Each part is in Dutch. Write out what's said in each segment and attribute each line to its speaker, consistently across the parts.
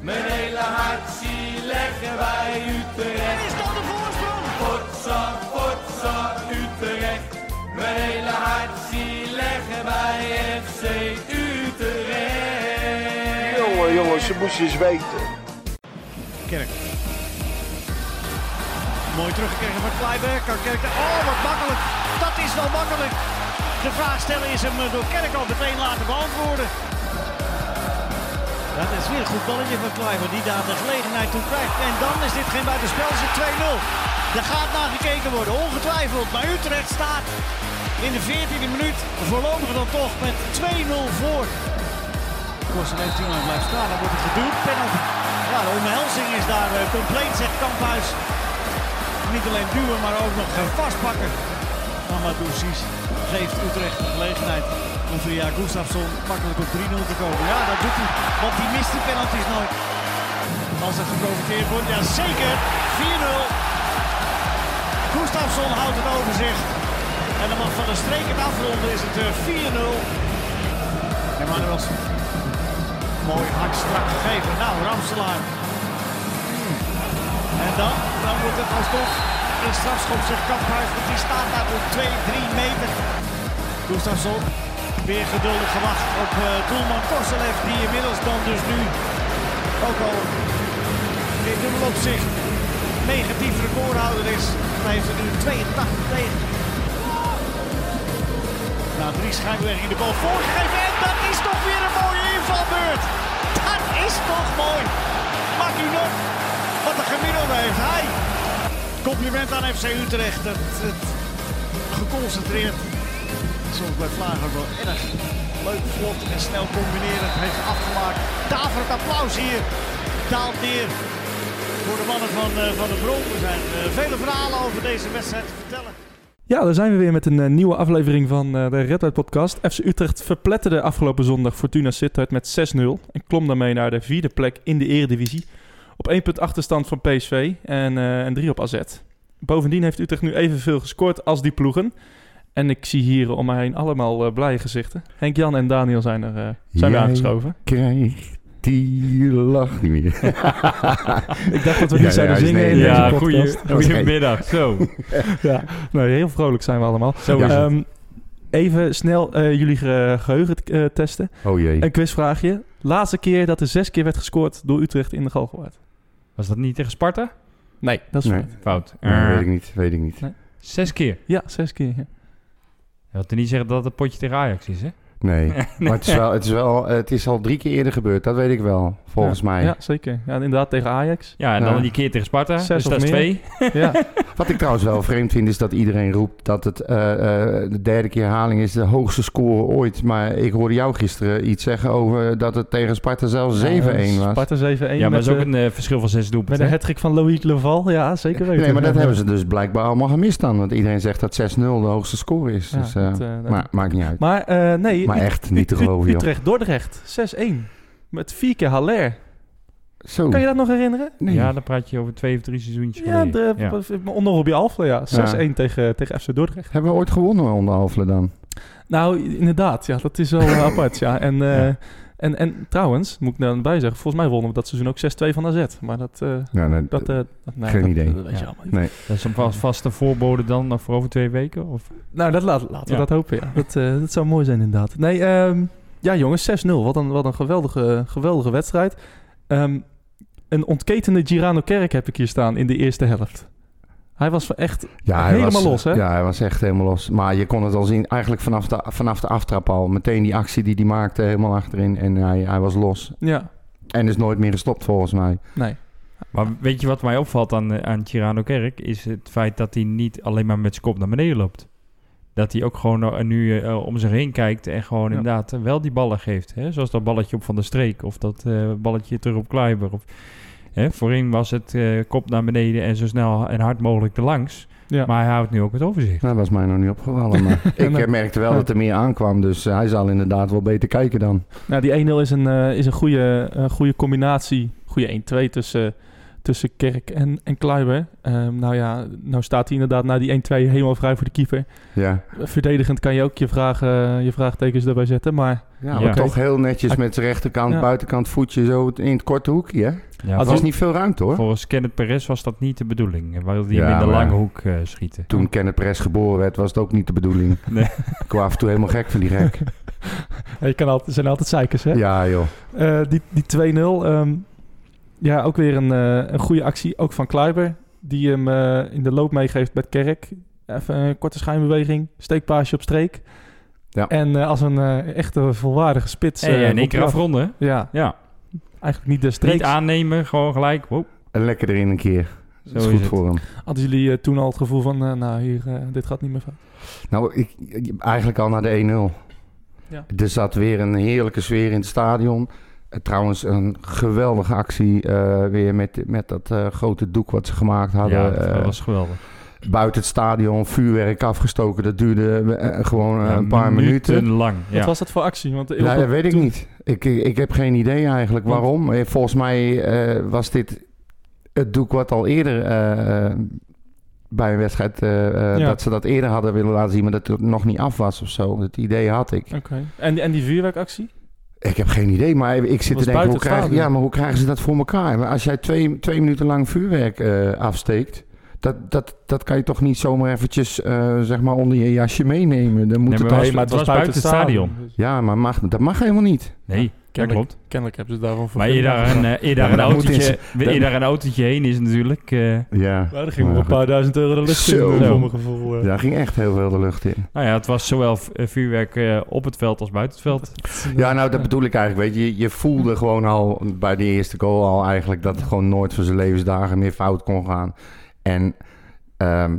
Speaker 1: Mijn hele hart zie leggen wij Utrecht.
Speaker 2: Is dat de voorsprong?
Speaker 1: Potsa, potsa, Utrecht. Mijn hele hart zie leggen wij FC Utrecht.
Speaker 3: Jongen, jongen, ze moesten eens weten.
Speaker 4: Kerk. Mooi teruggekregen van Kleiber. Kan Kerk. Oh, wat makkelijk. Dat is wel makkelijk. De vraag stellen is hem eh, door Kerk al meteen laten beantwoorden. Dat is weer een goed balletje van Kleiber die daar de gelegenheid toe krijgt. En dan is dit geen buitenspel, is het 2-0. Er gaat naar gekeken worden, ongetwijfeld. Maar Utrecht staat in de 14e minuut voorlopig dan toch met 2-0 voor. Korsen heeft iemand blijft staan, dan wordt het geduwd. Penalty. Ja, de omhelzing is daar eh, compleet, zegt Kamphuis. Niet alleen duwen, maar ook nog eh, vastpakken. Amadou Sis geeft Utrecht de gelegenheid om via Gustafsson makkelijk op 3-0 te komen. Ja, dat doet hij, want die mist die penalties nooit. Als er geprofiteerd wordt, ja zeker, 4-0. Gustafsson houdt het overzicht. En dan mag Van der Streek het afronden, is het eh, 4-0. Emmanuelsen. Mooi hard strak gegeven. Nou, Ramselaar. En dan, dan wordt het alsnog een strafschop, zegt Kamphuis. Want die staat daar op 2-3 meter. Gustafsson, weer geduldig gewacht op eh, doelman Korselev. Die inmiddels dan dus nu ook al in dubbel opzicht negatief recordhouder is. Hij heeft er nu 82 tegen. Nou, drie schijnbewegingen de bal voorgegeven. En dat is toch weer een mooie invalbeurt. Dat is toch mooi. Mag u nog wat een gemiddelde heeft hij. Compliment aan FC Utrecht. Het, het geconcentreerd. Zoals bij Vlager wel erg leuk, vlot en snel combinerend heeft afgemaakt. Daverend applaus hier. Daalt neer voor de mannen van, eh, van de Bron. Er zijn eh, vele verhalen over deze wedstrijd te vertellen.
Speaker 5: Ja, daar zijn we weer met een eh, nieuwe aflevering van eh, de Red Uit Podcast. FC Utrecht verpletterde afgelopen zondag Fortuna Sittard met 6-0 en klom daarmee naar de vierde plek in de Eredivisie. Op één punt achterstand van PSV en, eh en drie op AZ. Bovendien heeft Utrecht nu evenveel gescoord als die ploegen. En ik zie hier om mij heen allemaal eh, blije gezichten. Henk, Jan en Daniel zijn er eh, zijn weer
Speaker 6: Jij-
Speaker 5: aangeschoven.
Speaker 6: Krijg die lach niet meer.
Speaker 5: Ik dacht dat we
Speaker 6: Ja,
Speaker 5: niet zouden
Speaker 6: ja, is-
Speaker 5: zingen
Speaker 6: nee,
Speaker 5: in
Speaker 6: nee,
Speaker 5: deze
Speaker 6: ja,
Speaker 5: podcast. Oh,
Speaker 7: goedemiddag. Zo,
Speaker 5: Ja, nou, heel vrolijk zijn we allemaal.
Speaker 7: zo is het.
Speaker 5: Ehm, even snel eh, jullie ge- geheugen eh, testen.
Speaker 6: Oh jee.
Speaker 5: Een quizvraagje. Laatste keer dat er zes keer werd gescoord door Utrecht in de Galgenwaard.
Speaker 7: Was dat niet tegen Sparta?
Speaker 5: Nee, dat is
Speaker 6: Nee.
Speaker 5: fout.
Speaker 7: Fout.
Speaker 6: Nee,
Speaker 7: Eh,
Speaker 6: weet ik niet, weet ik niet.
Speaker 7: Zes keer.
Speaker 5: Ja, zes keer. ja.
Speaker 7: Je had er niet zeggen dat het potje tegen Ajax is, hè?
Speaker 6: Nee. Maar het is, wel, het, is wel, het is al drie keer eerder gebeurd, dat weet ik wel, volgens
Speaker 5: Ja.
Speaker 6: mij.
Speaker 5: Ja, zeker. Ja, en inderdaad tegen Ajax.
Speaker 7: Ja, en dan
Speaker 6: Ja.
Speaker 7: die keer tegen Sparta.
Speaker 5: Nou, Zes
Speaker 7: dus
Speaker 5: of
Speaker 7: dat is
Speaker 5: meer.
Speaker 7: twee.
Speaker 5: ja.
Speaker 6: Wat ik trouwens wel vreemd vind, is dat iedereen roept dat het eh, eh, de derde keer herhaling is de hoogste score ooit. Maar ik hoorde jou gisteren iets zeggen over dat het tegen Sparta zelfs 7-1 was.
Speaker 5: Sparta 7-1.
Speaker 7: Ja, maar dat
Speaker 5: met,
Speaker 7: is ook
Speaker 5: eh,
Speaker 7: een eh, verschil van zes
Speaker 5: met
Speaker 7: doelpunten.
Speaker 5: een
Speaker 7: hè?
Speaker 5: hattrick van Loïc Leval. Ja, zeker weten.
Speaker 6: Nee, maar dat
Speaker 5: Ja.
Speaker 6: hebben ze dus blijkbaar allemaal gemist dan. Want iedereen zegt dat 6-0 de hoogste score is.
Speaker 5: Ja,
Speaker 6: dus, eh,
Speaker 5: dat, eh, dat-
Speaker 6: maar maakt niet uit.
Speaker 5: Maar eh, nee,
Speaker 6: Maar
Speaker 5: Ut-
Speaker 6: echt niet te
Speaker 5: Ut-
Speaker 6: geloven, joh.
Speaker 5: Utrecht, Dordrecht, 6-1. Met vier keer Haller.
Speaker 6: Zo.
Speaker 5: Kan je dat nog herinneren?
Speaker 6: Nee.
Speaker 7: Ja, dan praat je over twee of drie seizoentjes
Speaker 5: Ja, de,
Speaker 7: geleden. Ja.
Speaker 5: onder Robbie Alfle, ja. 6-1 tegen, tegen FC Dordrecht.
Speaker 6: Hebben we ooit gewonnen onder Alphen dan?
Speaker 5: Nou, inderdaad. Ja, dat is wel eh, apart. Ja. En, eh, En, en trouwens, moet ik daar bij zeggen, volgens mij wonnen we dat seizoen ook 6-2 van AZ. Maar dat... eh
Speaker 6: Ja, nee,
Speaker 5: dat, eh, dat- nee,
Speaker 6: Geen
Speaker 5: dat-
Speaker 6: idee.
Speaker 5: dat weet je
Speaker 7: Ja.
Speaker 5: allemaal niet.
Speaker 6: Nee.
Speaker 7: Dat is een vast, vaste voorbode dan nog voor over twee weken? Of?
Speaker 5: Nou, dat laat, laten
Speaker 7: Ja.
Speaker 5: we dat hopen, ja. Dat, eh, dat zou mooi zijn, inderdaad. Nee, ehm, ja jongens, 6-0. Wat een, wat een geweldige, geweldige wedstrijd. Ehm, een ontketende Girano Kerk heb ik hier staan in de eerste helft. Hij was wel echt...
Speaker 6: Ja,
Speaker 5: Helemaal
Speaker 6: was,
Speaker 5: los, hè?
Speaker 6: Ja, hij was echt helemaal los. Maar je kon het al zien, eigenlijk vanaf de, vanaf de aftrap al. Meteen die actie die hij maakte, helemaal achterin. En hij, hij was los.
Speaker 5: Ja,
Speaker 6: En is nooit meer gestopt, volgens mij.
Speaker 5: nee.
Speaker 7: Maar weet je wat mij opvalt aan, eh, aan Tirano Kerk? Is het feit dat hij niet alleen maar met zijn kop naar beneden loopt. Dat hij ook gewoon eh, nu eh, om zich heen kijkt en gewoon
Speaker 5: Ja.
Speaker 7: inderdaad eh, wel die ballen geeft. Hè? Zoals dat balletje op Van der Streek of dat eh, balletje terug op Kluiber. Of, hè? Voorheen was het eh, kop naar beneden en zo snel en hard mogelijk erlangs.
Speaker 5: Ja.
Speaker 7: Maar hij houdt nu ook het overzicht.
Speaker 6: Nou, dat was mij nog niet opgevallen. Maar ik eh, merkte wel dat er meer aankwam. Dus eh, hij zal inderdaad wel beter kijken dan.
Speaker 5: Nou, die 1-0 is een, eh, is een goede, eh, goede combinatie. Goede 1-2 tussen, tussen Kerk en, en Kluiber. Ehm, nou ja, nou staat hij inderdaad na die 1-2 helemaal vrij voor de keeper.
Speaker 6: Ja,
Speaker 5: Verdedigend kan je ook je, vragen, je vraagtekens erbij zetten, maar
Speaker 6: ja,
Speaker 7: Ja.
Speaker 6: maar
Speaker 5: Oké.
Speaker 6: toch heel netjes met zijn rechterkant,
Speaker 5: Ja.
Speaker 6: buitenkant voetje zo in het korte hoekje. hè?
Speaker 5: Als
Speaker 7: Ja,
Speaker 6: Dat
Speaker 7: vol-
Speaker 6: was niet veel ruimte hoor.
Speaker 7: volgens Kenneth Perez was dat niet de bedoeling. eh, Hij wilde die
Speaker 6: Ja,
Speaker 7: hem in de
Speaker 6: maar-
Speaker 7: lange hoek eh, schieten.
Speaker 6: Toen Kenneth Press geboren werd, was het ook niet de bedoeling.
Speaker 7: Nee.
Speaker 6: Ik word af en toe helemaal gek van die gek.
Speaker 5: je kan altijd, er zijn altijd zeikers, hè?
Speaker 6: Ja joh.
Speaker 5: Eh, die die 2-0, ehm, ja, ook weer een, eh, een goede actie, ook van Kluiber. Die hem eh, in de loop meegeeft met Kerk. Even een korte schijnbeweging, steekpaasje op streek.
Speaker 6: Ja.
Speaker 5: En eh, als een eh, echte volwaardige spits.
Speaker 7: En
Speaker 5: eh,
Speaker 7: in één
Speaker 5: roept
Speaker 7: keer
Speaker 5: hij af.
Speaker 7: afronden. hè?
Speaker 5: Ja,
Speaker 7: Ja,
Speaker 5: eigenlijk niet de
Speaker 7: niet
Speaker 5: streek.
Speaker 7: aannemen, gewoon gelijk. Woep.
Speaker 6: En lekker erin een keer. Dat
Speaker 7: Zo
Speaker 6: is
Speaker 7: is
Speaker 6: goed
Speaker 7: het.
Speaker 6: voor hem.
Speaker 5: Hadden jullie eh, toen al het gevoel van, eh, nou hier, eh, dit gaat niet meer fout.
Speaker 6: Nou, ik, eigenlijk al naar de 1-0.
Speaker 5: Ja.
Speaker 6: Er zat weer een heerlijke sfeer in het stadion. Eh, Trouwens, een geweldige actie eh, weer met, met dat eh, grote doek wat ze gemaakt hadden.
Speaker 7: ja, dat
Speaker 6: eh,
Speaker 7: was geweldig.
Speaker 6: buiten het stadion, vuurwerk afgestoken. Dat duurde eh, gewoon eh,
Speaker 7: Ja,
Speaker 6: een paar minuten.
Speaker 7: lang.
Speaker 5: Wat
Speaker 7: Ja.
Speaker 5: was dat voor actie? Want eh, heel
Speaker 6: Ja,
Speaker 5: veel-
Speaker 6: dat weet ik
Speaker 5: toen-
Speaker 6: niet. Ik, ik, ik heb geen idee eigenlijk
Speaker 5: Want-
Speaker 6: waarom. Eh, Volgens mij eh, was dit het doek wat al eerder eh, eh, bij een wedstrijd... eh, eh,
Speaker 5: Ja.
Speaker 6: dat ze dat eerder hadden willen laten zien, maar dat het nog niet af was of zo. Dat idee had ik.
Speaker 5: Oké. En, en die vuurwerkactie?
Speaker 6: Ik heb geen idee, maar ik zit
Speaker 5: was
Speaker 6: te denken,
Speaker 5: buiten
Speaker 6: hoe
Speaker 5: het
Speaker 6: krijgen,
Speaker 5: stadion.
Speaker 6: ja, maar hoe krijgen ze dat voor elkaar? Maar als jij twee, twee minuten lang vuurwerk eh, afsteekt, dat, dat, dat kan je toch niet zomaar eventjes eh, zeg maar onder je jasje meenemen? Dan moet
Speaker 7: Nee,
Speaker 6: het
Speaker 7: maar
Speaker 6: als-
Speaker 7: hey, maar- het was buiten het stadion.
Speaker 6: Ja, maar mag, dat mag helemaal niet.
Speaker 7: Nee, dat
Speaker 5: Kennelijk-
Speaker 7: klopt.
Speaker 5: Kennelijk hebben ze daarvan voor.
Speaker 7: Maar eer daar een, eh, eer daar
Speaker 6: Ja, maar
Speaker 7: een
Speaker 6: dat moet
Speaker 7: autootje,
Speaker 6: eens-
Speaker 7: eer
Speaker 6: dat-
Speaker 7: daar een autootje heen is natuurlijk. eh,
Speaker 6: Ja,
Speaker 5: Nou, er gingen wel een paar duizend euro de lucht in,
Speaker 6: Zo.
Speaker 5: eh, voor mijn gevoel. eh.
Speaker 6: daar ging echt heel veel de lucht in.
Speaker 7: nou ja, het was zowel v- eh, vuurwerk eh, op het veld als buiten het veld.
Speaker 6: Ja, nou, dat bedoel ik eigenlijk. Weet je, je voelde gewoon al bij de eerste goal al eigenlijk dat het gewoon nooit van zijn levensdagen meer fout kon gaan. En ehm,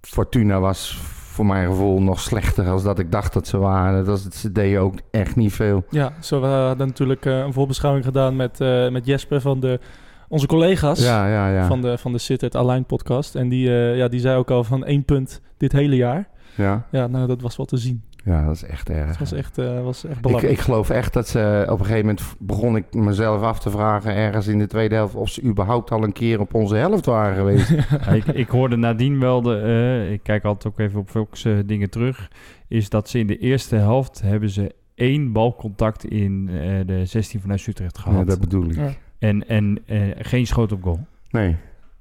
Speaker 6: Fortuna was voor mijn gevoel nog slechter als dat ik dacht dat ze waren. Dat was, ze deden ook echt niet veel.
Speaker 5: Ja, zo we hadden natuurlijk eh, een voorbeschouwing gedaan met, eh, met Jesper van de, onze collega's
Speaker 6: Ja, ja, ja.
Speaker 5: van de, van de Sit It Align podcast. En die, eh, ja, die zei ook al van één punt dit hele jaar.
Speaker 6: ja.
Speaker 5: Ja, nou dat was wel te zien.
Speaker 6: ja, dat is echt erg.
Speaker 5: Het was echt, eh, was echt
Speaker 6: Ik,
Speaker 5: belangrijk.
Speaker 6: ik geloof echt dat ze op een gegeven moment begon ik mezelf af te vragen ergens in de tweede helft of ze überhaupt al een keer op onze helft waren geweest.
Speaker 7: Ja, ik, ik hoorde nadien wel, de, eh, ik kijk altijd ook even op Fox eh, dingen terug, is dat ze in de eerste helft hebben ze één balcontact in eh, de 16 vanuit Utrecht
Speaker 6: Ja,
Speaker 7: gehad.
Speaker 6: dat bedoel ik.
Speaker 5: Ja.
Speaker 7: En, en eh, geen schot op goal.
Speaker 6: Nee.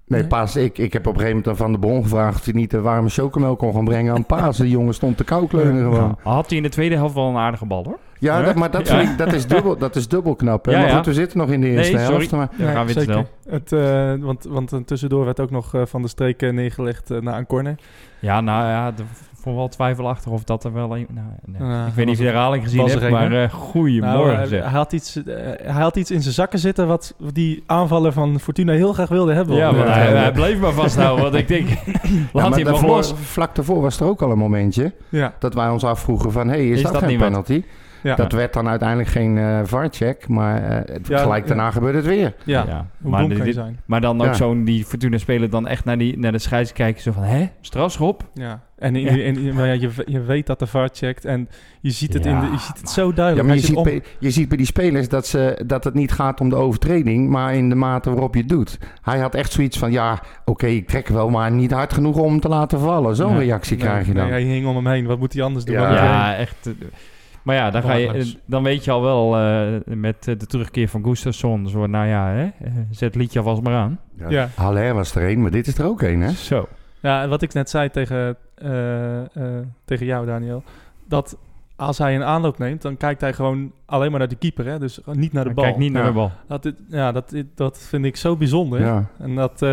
Speaker 6: Nee,
Speaker 5: Nee.
Speaker 6: Paas, ik, ik heb op een gegeven moment aan Van de Bron gevraagd of hij niet de warme chocomel kon gaan brengen aan Paas. De jongen stond te koukleunen gewoon.
Speaker 7: Nou, had hij in de tweede helft wel een aardige bal hoor.
Speaker 6: Ja, dat, maar dat,
Speaker 7: Ja.
Speaker 6: vind ik- dat, is dubbel, dat is dubbel knap. Hè?
Speaker 7: Ja,
Speaker 6: maar
Speaker 7: ja.
Speaker 6: goed, we zitten nog in de eerste
Speaker 7: Nee, sorry.
Speaker 6: helft. Maar
Speaker 7: Ja, we gaan weer te
Speaker 5: zeker.
Speaker 7: snel.
Speaker 5: Het, eh, want, want eh, tussendoor werd ook nog eh, van de streek eh, neergelegd eh, na een corner.
Speaker 7: Ja, nou ja, de, voor wel twijfelachtig of dat er wel een... Nou, nee.
Speaker 5: Ja,
Speaker 7: ik weet niet of je de herhaling gezien
Speaker 5: was er
Speaker 7: hebt,
Speaker 5: geen, hè?
Speaker 7: maar eh goeiemorgen
Speaker 5: Eh, Nou, hij,
Speaker 7: zeg.
Speaker 5: hij had iets, eh, hij had iets in zijn zakken zitten wat die aanvaller van Fortuna heel graag wilde hebben.
Speaker 7: Ja,
Speaker 6: maar
Speaker 7: want
Speaker 6: Ja,
Speaker 7: hij,
Speaker 6: ja.
Speaker 7: hij bleef maar vasthouden. Want ik denk,
Speaker 6: Ja,
Speaker 7: laat
Speaker 6: maar
Speaker 7: hij hem nog
Speaker 6: daarvoor-
Speaker 7: los.
Speaker 6: Vlak daarvoor was er ook al een momentje
Speaker 5: ja.
Speaker 6: dat wij ons afvroegen van... hé, hey, is, dat,
Speaker 7: dat
Speaker 6: geen
Speaker 7: niet wat?
Speaker 6: penalty?
Speaker 5: Ja.
Speaker 6: Dat werd dan uiteindelijk geen eh VAR-check, maar eh, het-
Speaker 5: Ja,
Speaker 6: gelijk
Speaker 5: ja.
Speaker 6: daarna gebeurde het weer.
Speaker 5: Ja, hoe
Speaker 7: Maar,
Speaker 5: dom kan je
Speaker 7: dit-
Speaker 5: zijn.
Speaker 7: maar dan ook
Speaker 6: Ja.
Speaker 7: zo'n die Fortuna-speler dan echt naar, die, naar de scheids kijken. Zo van, hè? Strafschop?
Speaker 5: Ja. En in,
Speaker 7: Ja.
Speaker 5: in- in- maar ja, je, je weet dat de VAR checkt en je ziet het, in de, je ziet het zo
Speaker 6: Ja,
Speaker 5: duidelijk.
Speaker 6: maar je
Speaker 5: Als
Speaker 6: ziet,
Speaker 5: het om-
Speaker 6: bij, je ziet bij die spelers dat, ze, dat het niet gaat om de overtreding, maar in de mate waarop je het doet. Hij had echt zoiets van, ja, oké, ik trek wel, maar niet hard genoeg om hem te laten vallen. Zo'n
Speaker 7: Nee.
Speaker 6: reactie
Speaker 5: Nee,
Speaker 6: krijg je dan.
Speaker 5: nee, hij hing om hem heen. Wat moet hij anders doen?
Speaker 6: Ja.
Speaker 5: Waar
Speaker 7: Ja,
Speaker 5: moet hij heen?
Speaker 7: echt. eh, Maar ja, dan, ga je,
Speaker 5: Waardeloos.
Speaker 7: dan weet je al wel eh, met eh, de terugkeer van Gustafsson. Zo, nou ja, hè? eh, zet het liedje alvast maar aan.
Speaker 6: Ja.
Speaker 5: Ja.
Speaker 6: Haller was er één, maar dit is er ook één, hè?
Speaker 7: Zo.
Speaker 5: Ja, en wat ik net zei tegen, eh, eh, tegen jou, Daniel. Dat als hij een aanloop neemt, dan kijkt hij gewoon alleen maar naar de keeper. Hè? Dus gewoon niet naar de
Speaker 7: Maar
Speaker 5: bal.
Speaker 7: Kijk niet naar
Speaker 6: Ja.
Speaker 7: de bal.
Speaker 5: Dat, dit- ja, dat, dit- dat vind ik zo bijzonder.
Speaker 6: Ja.
Speaker 5: En dat eh,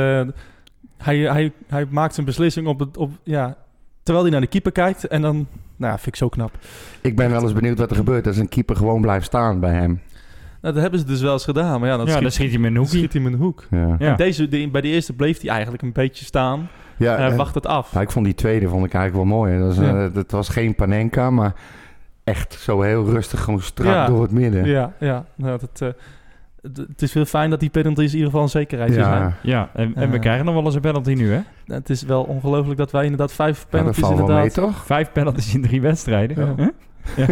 Speaker 5: hij, hij, hij maakt zijn beslissing op het, op, ja, terwijl hij naar de keeper kijkt. En dan, nou ja, vind ik zo knap.
Speaker 6: Ik ben wel eens benieuwd wat er gebeurt als een keeper gewoon blijft staan bij hem.
Speaker 5: Nou, dat hebben ze dus wel eens gedaan. Maar ja, dan
Speaker 7: ja, dan
Speaker 5: schiet,
Speaker 7: schiet hij met een
Speaker 5: dan
Speaker 7: hoekje.
Speaker 5: schiet hij met een hoek.
Speaker 6: Ja,
Speaker 7: Ja.
Speaker 5: Deze, de- bij de eerste bleef hij eigenlijk een beetje staan.
Speaker 6: ja
Speaker 5: en hij
Speaker 6: eh,
Speaker 5: wacht het af.
Speaker 6: ja, ik vond die tweede vond ik eigenlijk wel mooi. Dat was,
Speaker 5: Ja.
Speaker 6: eh, dat was geen Panenka, maar echt zo heel rustig, gewoon strak
Speaker 5: Ja.
Speaker 6: door het midden.
Speaker 5: Ja, ja. Nou, dat, eh, het- het is heel fijn dat die penalties in ieder geval een zekerheidje zijn.
Speaker 6: ja.
Speaker 7: Ja, en, en we
Speaker 5: Eh.
Speaker 7: krijgen nog wel eens een penalty nu, hè?
Speaker 5: Nou, Het is wel ongelooflijk dat wij inderdaad vijf
Speaker 6: Ja, dat
Speaker 5: penalties
Speaker 6: valt wel mee,
Speaker 5: inderdaad...
Speaker 6: toch?
Speaker 7: Vijf penalties in drie wedstrijden.
Speaker 5: Ja.
Speaker 7: Huh?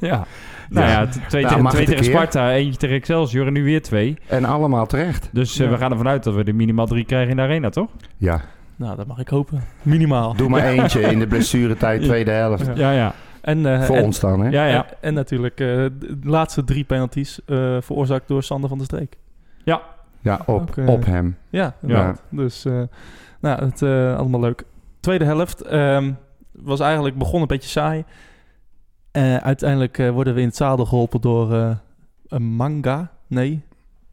Speaker 7: ja. Nou ja, t- twee,
Speaker 6: Nou,
Speaker 7: tegen,
Speaker 6: mag
Speaker 7: twee
Speaker 6: het een
Speaker 7: tegen
Speaker 6: keer.
Speaker 7: Sparta, eentje tegen Excelsior en nu weer twee.
Speaker 6: En allemaal terecht.
Speaker 7: Dus eh,
Speaker 5: Ja.
Speaker 7: we gaan ervan uit dat we er minimaal drie krijgen in de arena, toch?
Speaker 6: Ja,
Speaker 5: Nou, dat mag ik hopen. Minimaal.
Speaker 6: doe maar eentje in de blessuretijd, tweede helft.
Speaker 5: Ja.
Speaker 7: Ja, ja.
Speaker 5: En, eh,
Speaker 6: Voor
Speaker 5: en-
Speaker 6: ons dan, hè?
Speaker 7: ja, ja.
Speaker 5: En, en natuurlijk eh, de laatste drie penalties eh, veroorzaakt door Sander van der Streek.
Speaker 6: Ja, op,
Speaker 5: Ook, eh,
Speaker 6: op hem.
Speaker 5: Ja, inderdaad. Dus eh, nou, het eh, allemaal leuk. Tweede helft ehm, was eigenlijk begon een beetje saai. Eh, uiteindelijk eh, worden we in het zadel geholpen door eh, een manga. Nee?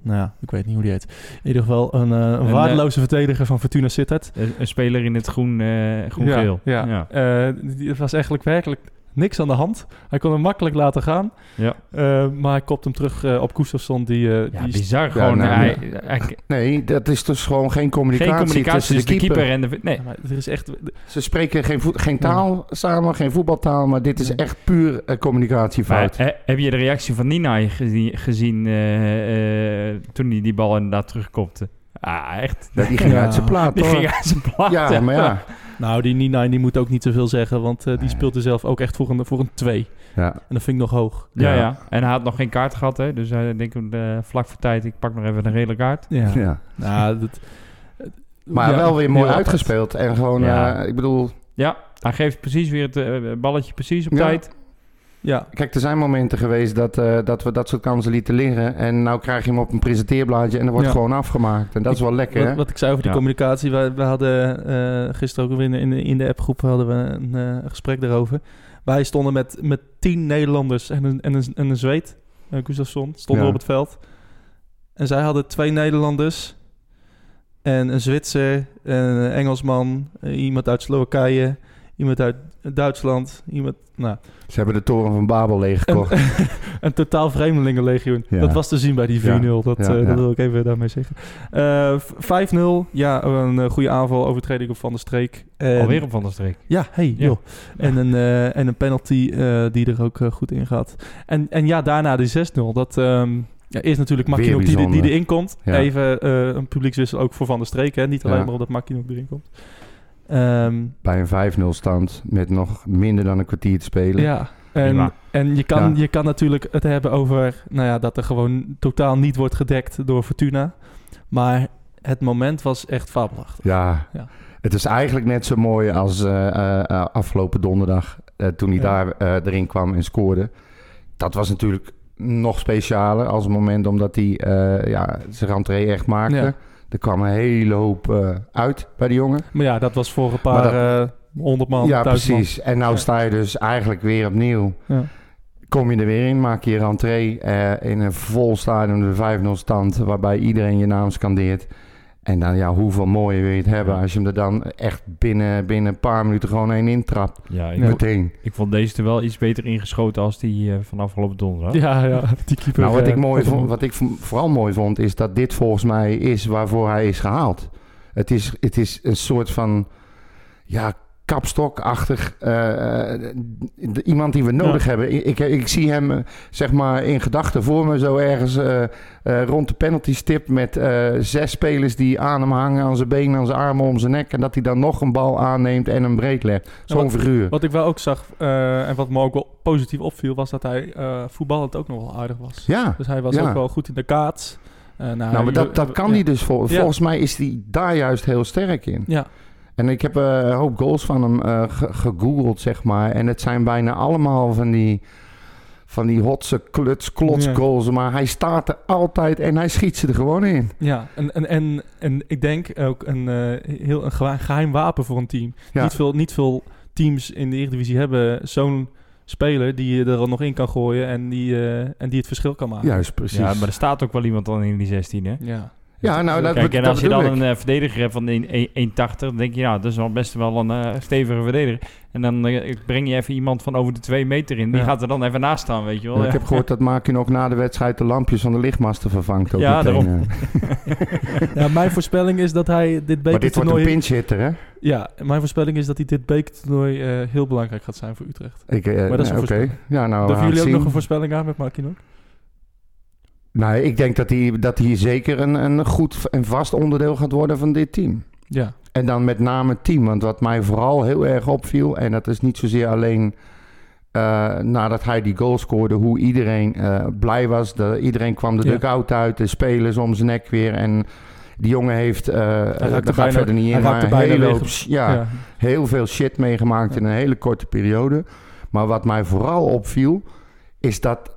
Speaker 5: Nou ja, ik weet niet hoe die heet. In ieder geval een, eh, een
Speaker 7: eh,
Speaker 5: waardeloze verdediger van Fortuna Sittard.
Speaker 7: Een, een speler in het groen, eh groen-geel.
Speaker 5: Ja, ja. Eh, die- het was eigenlijk werkelijk niks aan de hand. Hij kon hem makkelijk laten gaan.
Speaker 7: Ja.
Speaker 5: Eh, maar hij kopt hem terug eh, op Koestersson. Die, eh,
Speaker 7: Ja,
Speaker 5: die
Speaker 7: bizar. Gewoon, eh,
Speaker 6: nou,
Speaker 7: hij, hij-
Speaker 6: Nee, dat is dus gewoon geen communicatie,
Speaker 7: geen communicatie
Speaker 6: tussen de keeper.
Speaker 7: en de... Nee,
Speaker 5: Ja, maar er is echt...
Speaker 6: Ze spreken geen, voet- geen taal samen, geen voetbaltaal, maar dit is echt puur eh,
Speaker 7: Maar,
Speaker 6: communicatiefout.
Speaker 7: eh, heb je de reactie van Nina gezien, gezien eh, eh, toen hij die bal inderdaad terugkopte? Ah, echt.
Speaker 6: Dat die ging
Speaker 5: Ja.
Speaker 6: uit zijn plaat,
Speaker 7: Die
Speaker 6: hoor.
Speaker 7: ging uit zijn plaat.
Speaker 6: Ja, maar ja.
Speaker 5: Nou, die Nina die moet ook niet zoveel zeggen, want eh, die
Speaker 6: Nee.
Speaker 5: speelde zelf ook echt voor een, voor een 2.
Speaker 6: ja.
Speaker 5: En dat vind ik nog hoog.
Speaker 7: Ja,
Speaker 6: Ja.
Speaker 7: ja. En hij had nog geen kaart gehad, hè. Dus hij denkt, eh, vlak voor tijd, ik pak nog even een gele kaart.
Speaker 5: Ja.
Speaker 6: ja.
Speaker 5: Nou, dat,
Speaker 6: Maar
Speaker 5: Ja,
Speaker 6: wel weer mooi
Speaker 5: heel
Speaker 6: uitgespeeld. En gewoon,
Speaker 7: Ja.
Speaker 6: eh, ik bedoel,
Speaker 7: Ja, hij geeft precies weer het eh, balletje precies op
Speaker 6: Ja.
Speaker 7: tijd.
Speaker 5: Ja,
Speaker 6: kijk, er zijn momenten geweest dat, eh, dat we dat soort kansen lieten liggen. En nou krijg je hem op een presenteerblaadje en dan wordt
Speaker 5: Ja.
Speaker 6: gewoon afgemaakt. En dat is wel lekker,
Speaker 5: wat,
Speaker 6: hè?
Speaker 5: wat ik zei over die
Speaker 7: Ja.
Speaker 5: communicatie. We, we hadden eh, gisteren ook weer in, de- in, de- in de appgroep hadden we een eh, gesprek daarover. Wij stonden met, met tien Nederlanders en een, en een, en een Zweed, eh Gustafsson, stonden
Speaker 6: Ja.
Speaker 5: op het veld. En zij hadden twee Nederlanders en een Zwitser, en een Engelsman, eh, iemand uit Slowakije, iemand uit Duitsland, iemand... Nou,
Speaker 6: Ze hebben de toren van Babel leeggekocht.
Speaker 5: Een totaal vreemdelingenlegioen.
Speaker 6: Ja.
Speaker 5: Dat was te zien bij die 4-0.
Speaker 6: Ja.
Speaker 5: Dat,
Speaker 6: Ja,
Speaker 5: eh,
Speaker 6: ja.
Speaker 5: dat wil ik even daarmee zeggen. Eh, v- 5-0. Ja, een eh, goede aanval. Overtreding op Van der Streek. En,
Speaker 7: Alweer op Van der Streek.
Speaker 5: Ja, hey,
Speaker 7: Ja.
Speaker 5: joh. En een, eh, en een penalty eh, die er ook eh, goed in gaat. En, en ja, daarna die 6-0. Dat ehm ja, is natuurlijk
Speaker 6: Weer
Speaker 5: Makkinoek die, die
Speaker 6: bijzonder.
Speaker 5: erin komt.
Speaker 6: Ja.
Speaker 5: Even eh, een publiekswissel ook voor Van der Streek. Hè. Niet alleen
Speaker 6: Ja.
Speaker 5: maar omdat Makkinoek erin komt. Ehm,
Speaker 6: Bij een 5-0 stand met nog minder dan een kwartier te spelen.
Speaker 5: Ja, en,
Speaker 7: Prima.
Speaker 5: en je, kan,
Speaker 6: Ja.
Speaker 5: je kan natuurlijk het hebben over nou ja, dat er gewoon totaal niet wordt gedekt door Fortuna. Maar het moment was echt fabelachtig.
Speaker 6: Ja.
Speaker 5: Ja.
Speaker 6: Het is eigenlijk net zo mooi als eh, eh, eh, afgelopen donderdag eh, toen hij
Speaker 5: Ja.
Speaker 6: daar eh, erin kwam en scoorde. Dat was natuurlijk nog specialer als het moment omdat hij eh, ja, zijn rentree echt maakte.
Speaker 5: Ja.
Speaker 6: Er kwam een hele hoop eh, uit bij de jongen.
Speaker 5: Maar ja, dat was voor een paar eh, honderd man,
Speaker 6: ja,
Speaker 5: duizend man.
Speaker 6: precies. En nou
Speaker 5: Ja.
Speaker 6: sta je dus eigenlijk weer opnieuw.
Speaker 5: Ja.
Speaker 6: Kom je er weer in, maak je je rentree eh, in een vol stadion, de 5-0 stand, waarbij iedereen je naam scandeert. En dan, ja, hoeveel mooier wil je het hebben als je hem er dan echt binnen, binnen een paar minuten gewoon één intrapt.
Speaker 7: Ja, ik,
Speaker 5: Ja.
Speaker 7: Vond,
Speaker 6: Meteen.
Speaker 7: ik vond deze er wel iets beter ingeschoten als die eh van afgelopen donderdag.
Speaker 5: Ja, ja, die keeper.
Speaker 6: Nou, wat
Speaker 5: eh,
Speaker 6: ik, mooi
Speaker 5: vond-
Speaker 6: vond, wat ik vo- vooral mooi vond, is dat dit volgens mij is waarvoor hij is gehaald. Het is, het is een soort van ja, kapstokachtig eh, eh, d- iemand die we nodig hebben. I- Ik, ik zie hem eh, zeg maar in gedachten voor me zo ergens eh, eh, rond de penaltystip met eh, zes spelers die aan hem hangen, aan zijn benen, aan zijn armen, om zijn nek. En dat hij dan nog een bal aanneemt en hem breed legt. Zo'n
Speaker 5: wat-
Speaker 6: figuur.
Speaker 5: Wat ik wel ook zag eh, en wat me ook wel positief opviel, was dat hij eh voetballend ook nog wel aardig was.
Speaker 6: ja.
Speaker 5: Dus hij was
Speaker 6: Ja.
Speaker 5: ook wel goed in de kaats. Eh,
Speaker 6: Nou, maar dat, dat kan
Speaker 5: ja.
Speaker 6: hij dus. vol-
Speaker 5: Ja.
Speaker 6: Volgens mij is hij daar juist heel sterk in.
Speaker 5: Ja,
Speaker 6: En ik heb eh, een hoop goals van hem eh, ge- gegoogeld, zeg maar. En het zijn bijna allemaal van die, van die hotse kluts, klots
Speaker 5: Ja.
Speaker 6: goals. Maar hij staat er altijd en hij schiet ze er gewoon in.
Speaker 5: ja. En, en, en, en ik denk ook een eh, heel een gewa- geheim wapen voor een team.
Speaker 6: Ja.
Speaker 5: Niet, veel, niet veel teams in de Eredivisie hebben zo'n speler die je er al nog in kan gooien en die, eh, en die het verschil kan maken.
Speaker 6: Juist, precies.
Speaker 7: Ja,
Speaker 6: Ja,
Speaker 7: maar er staat ook wel iemand dan in die 16, hè?
Speaker 5: Ja.
Speaker 6: nou, dat,
Speaker 7: Kijk, en
Speaker 6: dat
Speaker 7: als je
Speaker 6: bedoel
Speaker 7: dan
Speaker 6: ik.
Speaker 7: een eh, verdediger hebt van 1,80, dan denk je, nou, dat is wel best wel een eh, stevige verdediger. En dan eh, breng je even iemand van over de 2 meter in. Die
Speaker 5: Ja.
Speaker 7: gaat er dan even naast staan, weet je wel.
Speaker 6: Ja, ik heb gehoord dat Makin ook na de wedstrijd de lampjes van de lichtmasten vervangt. Ook
Speaker 7: Ja,
Speaker 6: meteen,
Speaker 7: daarom.
Speaker 6: eh.
Speaker 5: ja, mijn voorspelling is dat hij dit
Speaker 6: Maar dit wordt een
Speaker 5: bekertoernooi...
Speaker 6: pinch hitter, hè?
Speaker 5: Ja, mijn voorspelling is dat hij dit bekertoernooi eh, heel belangrijk gaat zijn voor Utrecht.
Speaker 6: Ik, eh,
Speaker 5: Maar dat is een
Speaker 6: Oké.
Speaker 5: voorspelling.
Speaker 6: Ja, nou, we
Speaker 5: Durven
Speaker 6: gaan
Speaker 5: jullie ook
Speaker 6: het
Speaker 5: nog
Speaker 6: zien.
Speaker 5: een voorspelling aan met Markino?
Speaker 6: Nou, ik denk dat hij, dat hij zeker een, een goed en vast onderdeel gaat worden van dit team.
Speaker 5: Ja.
Speaker 6: En dan met name het team. Want wat mij vooral heel erg opviel, en dat is niet zozeer alleen eh, nadat hij die goal scoorde, hoe iedereen eh, blij was. De, iedereen kwam de
Speaker 5: Ja.
Speaker 6: dugout uit, de spelers om zijn nek weer. En die jongen heeft, eh
Speaker 5: raakte
Speaker 6: dat gaat
Speaker 5: bijna-
Speaker 6: verder niet
Speaker 5: hij
Speaker 6: in, maar
Speaker 5: raakte
Speaker 6: een
Speaker 5: bijna
Speaker 6: hele
Speaker 5: weg.
Speaker 6: hoop, ja, heel veel shit meegemaakt in een hele korte periode. Maar wat mij vooral opviel, is dat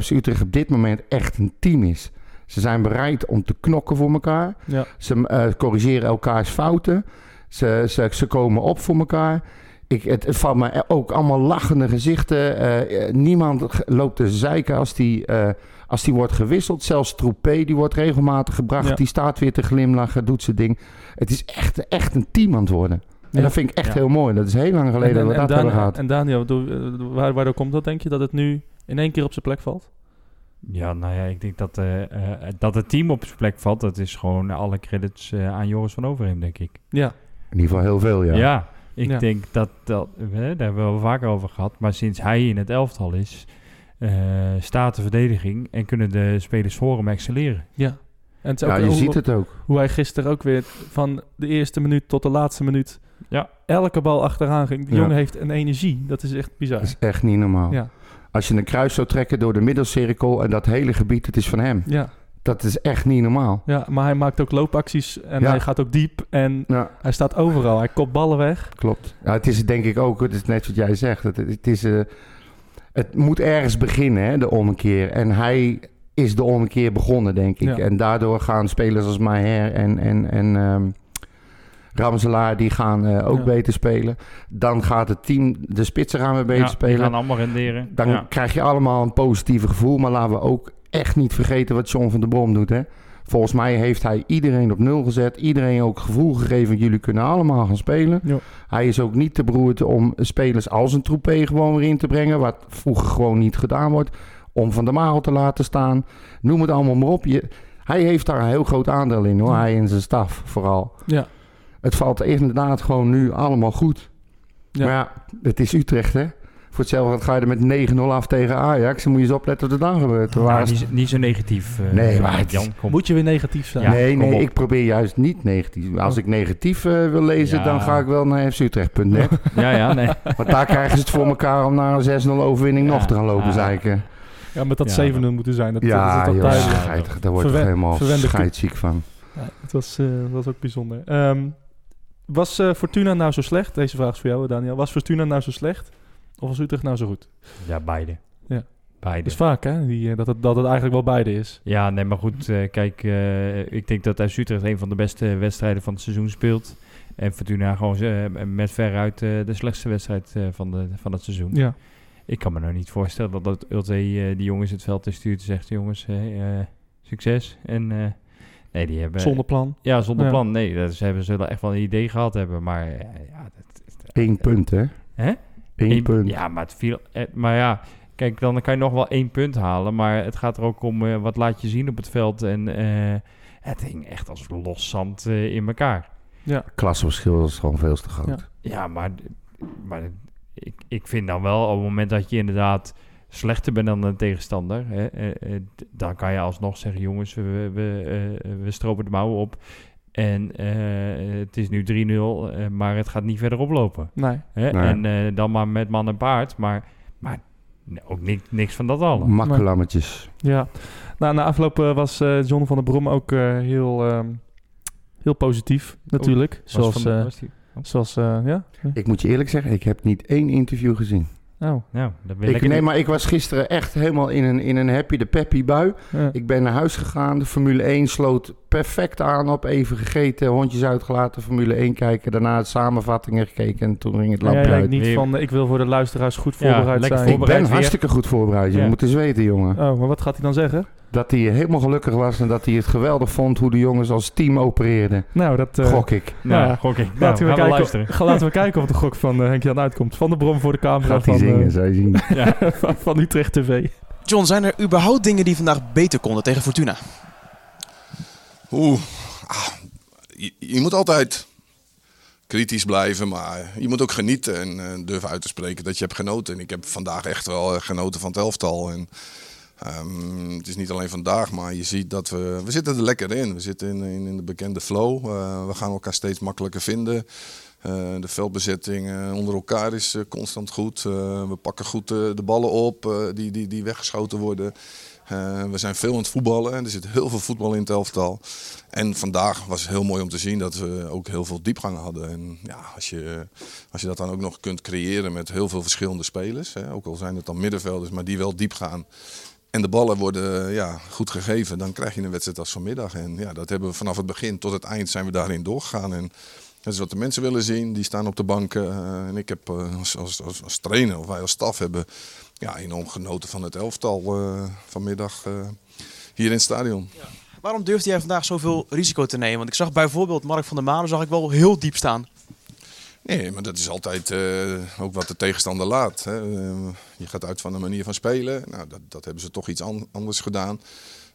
Speaker 6: FC Utrecht op dit moment echt een team is. Ze zijn bereid om te knokken voor elkaar.
Speaker 5: Ja.
Speaker 6: Ze eh, corrigeren elkaars fouten. Ze, ze, ze komen op voor elkaar. Ik, het, het valt me e-, ook allemaal lachende gezichten. Eh, eh, niemand g- loopt te zeiken als die, eh, als die wordt gewisseld. Zelfs Troepé, die wordt regelmatig gebracht.
Speaker 5: Ja.
Speaker 6: Die staat weer te glimlachen, doet zijn ding. Het is echt, echt een team aan het worden.
Speaker 5: Ja.
Speaker 6: En dat vind ik echt
Speaker 7: Ja.
Speaker 6: heel mooi. Dat is heel lang
Speaker 5: En, en,
Speaker 6: geleden dat we
Speaker 5: en
Speaker 6: dat hebben
Speaker 5: Daniel,
Speaker 6: gehad.
Speaker 5: en Daniel door- eh, waar, waardoor komt dat, denk je? Dat het nu in één keer op zijn plek valt?
Speaker 7: Ja, nou ja, ik denk dat, eh, eh, dat het team op zijn plek valt. Dat is gewoon alle credits eh, aan Joris van Overheem, denk ik.
Speaker 5: Ja,
Speaker 6: In ieder geval heel veel, ja.
Speaker 7: Ja, ik
Speaker 5: Ja.
Speaker 7: denk dat dat. eh, daar hebben we al vaker over gehad. Maar sinds hij in het elftal is, eh, staat de verdediging en kunnen de spelers voor hem excelleren.
Speaker 5: ja. En het is
Speaker 6: Ja,
Speaker 5: ook
Speaker 6: je
Speaker 5: hoe,
Speaker 6: ziet het ook.
Speaker 5: hoe hij gisteren ook weer van de eerste minuut tot de laatste minuut
Speaker 7: Ja.
Speaker 5: elke bal achteraan ging. Die
Speaker 6: Ja.
Speaker 5: jongen heeft een energie. Dat is echt bizar.
Speaker 6: Dat is echt niet normaal.
Speaker 5: Ja.
Speaker 6: Als je een kruis zou trekken door de middelcirkel en dat hele gebied, het is van hem.
Speaker 5: Ja,
Speaker 6: Dat is echt niet normaal.
Speaker 5: ja, maar hij maakt ook loopacties en
Speaker 6: Ja.
Speaker 5: hij gaat ook diep en
Speaker 6: Ja,
Speaker 5: hij staat overal. Hij kopt ballen weg.
Speaker 6: klopt. Ja, het is denk ik ook, het is net wat jij zegt. Het, het, is, eh, het moet ergens beginnen, hè, de ommekeer. En hij is de ommekeer begonnen, denk ik.
Speaker 5: Ja.
Speaker 6: En daardoor gaan spelers als Maher en, en, en ehm, Ramselaar, die gaan eh, ook
Speaker 5: Ja.
Speaker 6: beter spelen. Dan gaat het team, de spitsen gaan weer beter
Speaker 7: Ja, die
Speaker 6: spelen.
Speaker 7: gaan allemaal renderen.
Speaker 6: Dan
Speaker 7: ja.
Speaker 6: krijg je allemaal een positieve gevoel. Maar laten we ook echt niet vergeten wat John van der Brom doet. Hè? Volgens mij heeft hij iedereen op nul gezet. Iedereen ook gevoel gegeven. Jullie kunnen allemaal gaan spelen.
Speaker 5: Ja.
Speaker 6: Hij is ook niet te beroerd om spelers als een troepé gewoon weer in te brengen. Wat vroeger gewoon niet gedaan wordt. Om Van der Marel te laten staan. Noem het allemaal maar op. Je, hij heeft daar een heel groot aandeel in hoor.
Speaker 5: Ja.
Speaker 6: Hij en zijn staf vooral.
Speaker 5: Ja.
Speaker 6: Het valt inderdaad gewoon nu allemaal goed.
Speaker 5: Ja.
Speaker 6: Maar ja, het is Utrecht hè. Voor hetzelfde geld ga je er met 9-0 af tegen Ajax. Dan moet je eens opletten wat er dan gebeurt. Er
Speaker 7: Nou,
Speaker 6: waren-
Speaker 7: niet, niet zo negatief. eh,
Speaker 6: Nee, maar het is-
Speaker 7: Jan, kom.
Speaker 5: Moet je weer negatief zijn?
Speaker 7: Ja,
Speaker 6: nee,
Speaker 7: kom
Speaker 6: nee,
Speaker 7: op.
Speaker 6: ik probeer juist niet negatief. Als ik negatief eh, wil lezen,
Speaker 7: Ja.
Speaker 6: dan ga ik wel naar fcutrecht.net.
Speaker 7: Ja, ja, nee.
Speaker 6: Want daar krijgen ze het voor elkaar om naar een 6-0 overwinning
Speaker 7: Ja.
Speaker 6: nog te gaan lopen
Speaker 7: Ja.
Speaker 6: zeiken.
Speaker 5: Ja, maar dat
Speaker 7: Ja,
Speaker 5: 7-0 moeten zijn. Dat, dat
Speaker 6: Ja,
Speaker 5: is toch
Speaker 6: joh,
Speaker 5: duidelijk.
Speaker 6: scheidig. Daar word ik
Speaker 5: Verwen-
Speaker 6: helemaal
Speaker 5: verwende koe.
Speaker 6: scheidziek van.
Speaker 5: Ja, het was, eh, was ook bijzonder. Ehm, was eh, Fortuna nou zo slecht? Deze vraag is voor jou, eh, Daniel. Was Fortuna nou zo slecht? Of was Utrecht nou zo goed?
Speaker 7: Ja, beide.
Speaker 5: Ja.
Speaker 7: Beide.
Speaker 5: Dat
Speaker 6: Dus
Speaker 5: is vaak, hè? Die, eh, dat, het, dat het eigenlijk wel beide is.
Speaker 7: Ja, nee, maar goed. eh, kijk, eh, ik denk dat FC Utrecht een van de beste wedstrijden van het seizoen speelt. En Fortuna gewoon eh, met veruit eh, de slechtste wedstrijd eh, van, de, van het seizoen.
Speaker 5: Ja.
Speaker 7: Ik kan me nou niet voorstellen dat, dat Ulte eh, die jongens het veld in stuurt en zegt... Jongens, eh, eh, succes. En eh, nee, die hebben...
Speaker 5: Zonder plan.
Speaker 7: Ja, zonder
Speaker 5: Ja.
Speaker 7: plan. Nee, dat, ze hebben, zullen echt wel een idee gehad hebben. Maar eh, ja, dat,
Speaker 6: Eén punt, hè?
Speaker 7: Hè?
Speaker 6: Eén
Speaker 7: Eén-
Speaker 6: punt.
Speaker 7: Ja, maar het viel. eh, Maar ja, kijk, dan kan je nog wel één punt halen. Maar het gaat er ook om eh, wat laat je zien op het veld. En eh, het hing echt als los zand eh, in elkaar.
Speaker 6: Klassenverschil is gewoon veel te groot.
Speaker 5: Ja.
Speaker 7: Ja, maar, maar ik, ik vind dan wel op het moment dat je inderdaad slechter bent dan een tegenstander, hè, eh, eh, d- dan kan je alsnog zeggen: jongens, we, we, we, eh, we stropen de mouwen op. En eh, het is nu 3-0, eh, maar het gaat niet verder oplopen.
Speaker 5: Nee.
Speaker 7: Hè?
Speaker 6: Nee.
Speaker 7: En eh, dan maar met man en paard. Maar, maar n- ook ni- niks van dat
Speaker 5: Mm.
Speaker 7: allen.
Speaker 6: Makkelammetjes.
Speaker 5: Ja. Nou, na afloop eh, was eh, John van der Brom ook eh, heel, ehm, heel positief, natuurlijk. zoals, eh, zoals eh, ja?
Speaker 6: Ik moet je eerlijk zeggen, ik heb niet één interview gezien.
Speaker 5: Oh,
Speaker 7: nou, dat wil
Speaker 6: Ik,
Speaker 7: ik
Speaker 6: nee, maar ik was gisteren echt helemaal in een, in een happy de peppy bui.
Speaker 5: ja.
Speaker 6: Ik ben naar huis gegaan. De Formule 1 sloot perfect aan op. Even gegeten, hondjes uitgelaten, Formule 1 kijken. Daarna de samenvattingen gekeken en toen ging het
Speaker 5: Jij
Speaker 6: lampje
Speaker 5: denkt
Speaker 6: uit.
Speaker 5: niet
Speaker 7: Weer-
Speaker 5: van, eh, ik wil voor de luisteraars goed
Speaker 7: Ja,
Speaker 5: voorbereid
Speaker 7: lekker
Speaker 5: zijn.
Speaker 6: Ik
Speaker 7: voorbereid
Speaker 6: ben
Speaker 7: weer.
Speaker 6: hartstikke goed voorbereid. Je
Speaker 7: Ja.
Speaker 6: moet eens weten, jongen.
Speaker 5: Oh, maar wat gaat hij dan zeggen?
Speaker 6: Dat hij helemaal gelukkig was en dat hij het geweldig vond hoe de jongens als team opereerden.
Speaker 5: Nou, dat... eh,
Speaker 6: Gok ik.
Speaker 7: Nou,
Speaker 5: ja.
Speaker 7: gok ik. Nou,
Speaker 5: Laten,
Speaker 7: gaan
Speaker 5: we
Speaker 7: we
Speaker 5: kijken,
Speaker 7: luisteren.
Speaker 5: ga- laten we kijken of de gok van eh, Henk-Jan uitkomt. Van de Brom voor de camera
Speaker 6: Gaat
Speaker 5: van,
Speaker 6: hij zingen,
Speaker 5: eh,
Speaker 6: zou je zien.
Speaker 5: van, van Utrecht TV.
Speaker 2: John, zijn er überhaupt dingen die vandaag beter konden tegen Fortuna?
Speaker 8: Oeh, ah, je, je moet altijd kritisch blijven, maar je moet ook genieten en eh, durven uit te spreken dat je hebt genoten. En ik heb vandaag echt wel eh, genoten van het elftal. En, ehm, het is niet alleen vandaag, maar je ziet dat we, we zitten er lekker in. We zitten in, in, in de bekende flow. Eh, we gaan elkaar steeds makkelijker vinden. Eh, de veldbezetting eh, onder elkaar is eh, constant goed. Eh, we pakken goed eh, de ballen op eh, die, die, die weggeschoten worden. Eh, we zijn veel aan het voetballen en er zit heel veel voetbal in het elftal. En vandaag was het heel mooi om te zien dat we ook heel veel diepgang hadden. En ja, als je, als je dat dan ook nog kunt creëren met heel veel verschillende spelers, hè, ook al zijn het dan middenvelders, maar die wel diep gaan. En de ballen worden eh, ja, goed gegeven, dan krijg je een wedstrijd als vanmiddag. En ja, dat hebben we vanaf het begin tot het eind zijn we daarin doorgegaan. En dat is wat de mensen willen zien. Die staan op de banken. eh, en ik heb eh, als, als, als, als trainer, of wij als staf hebben ja, enorm genoten van het elftal eh, vanmiddag eh, hier in het stadion.
Speaker 2: Waarom durfde jij vandaag zoveel risico te nemen? Want ik zag bijvoorbeeld Mark van der Manen zag ik wel heel diep staan.
Speaker 8: Nee, maar dat is altijd eh, ook wat de tegenstander laat. Hè. Eh, je gaat uit van een manier van spelen. Nou, dat, dat hebben ze toch iets an- anders gedaan.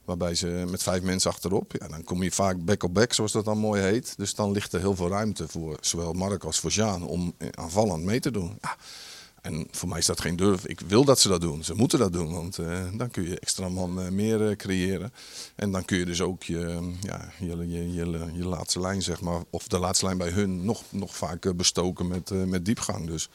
Speaker 8: Waarbij ze met vijf mensen achterop. Ja, dan kom je vaak back-op-back, zoals dat dan mooi heet. Dus dan ligt er heel veel ruimte voor zowel Mark als voor Jaan om eh, aanvallend mee te doen. Ja. En voor mij is dat geen durf. Ik wil dat ze dat doen. Ze moeten dat doen. Want eh, dan kun je extra man eh, meer eh, creëren. En dan kun je dus ook je, ja, je, je, je, je laatste lijn, zeg maar, of de laatste lijn bij hun nog, nog vaker bestoken met, eh, met diepgang. Dus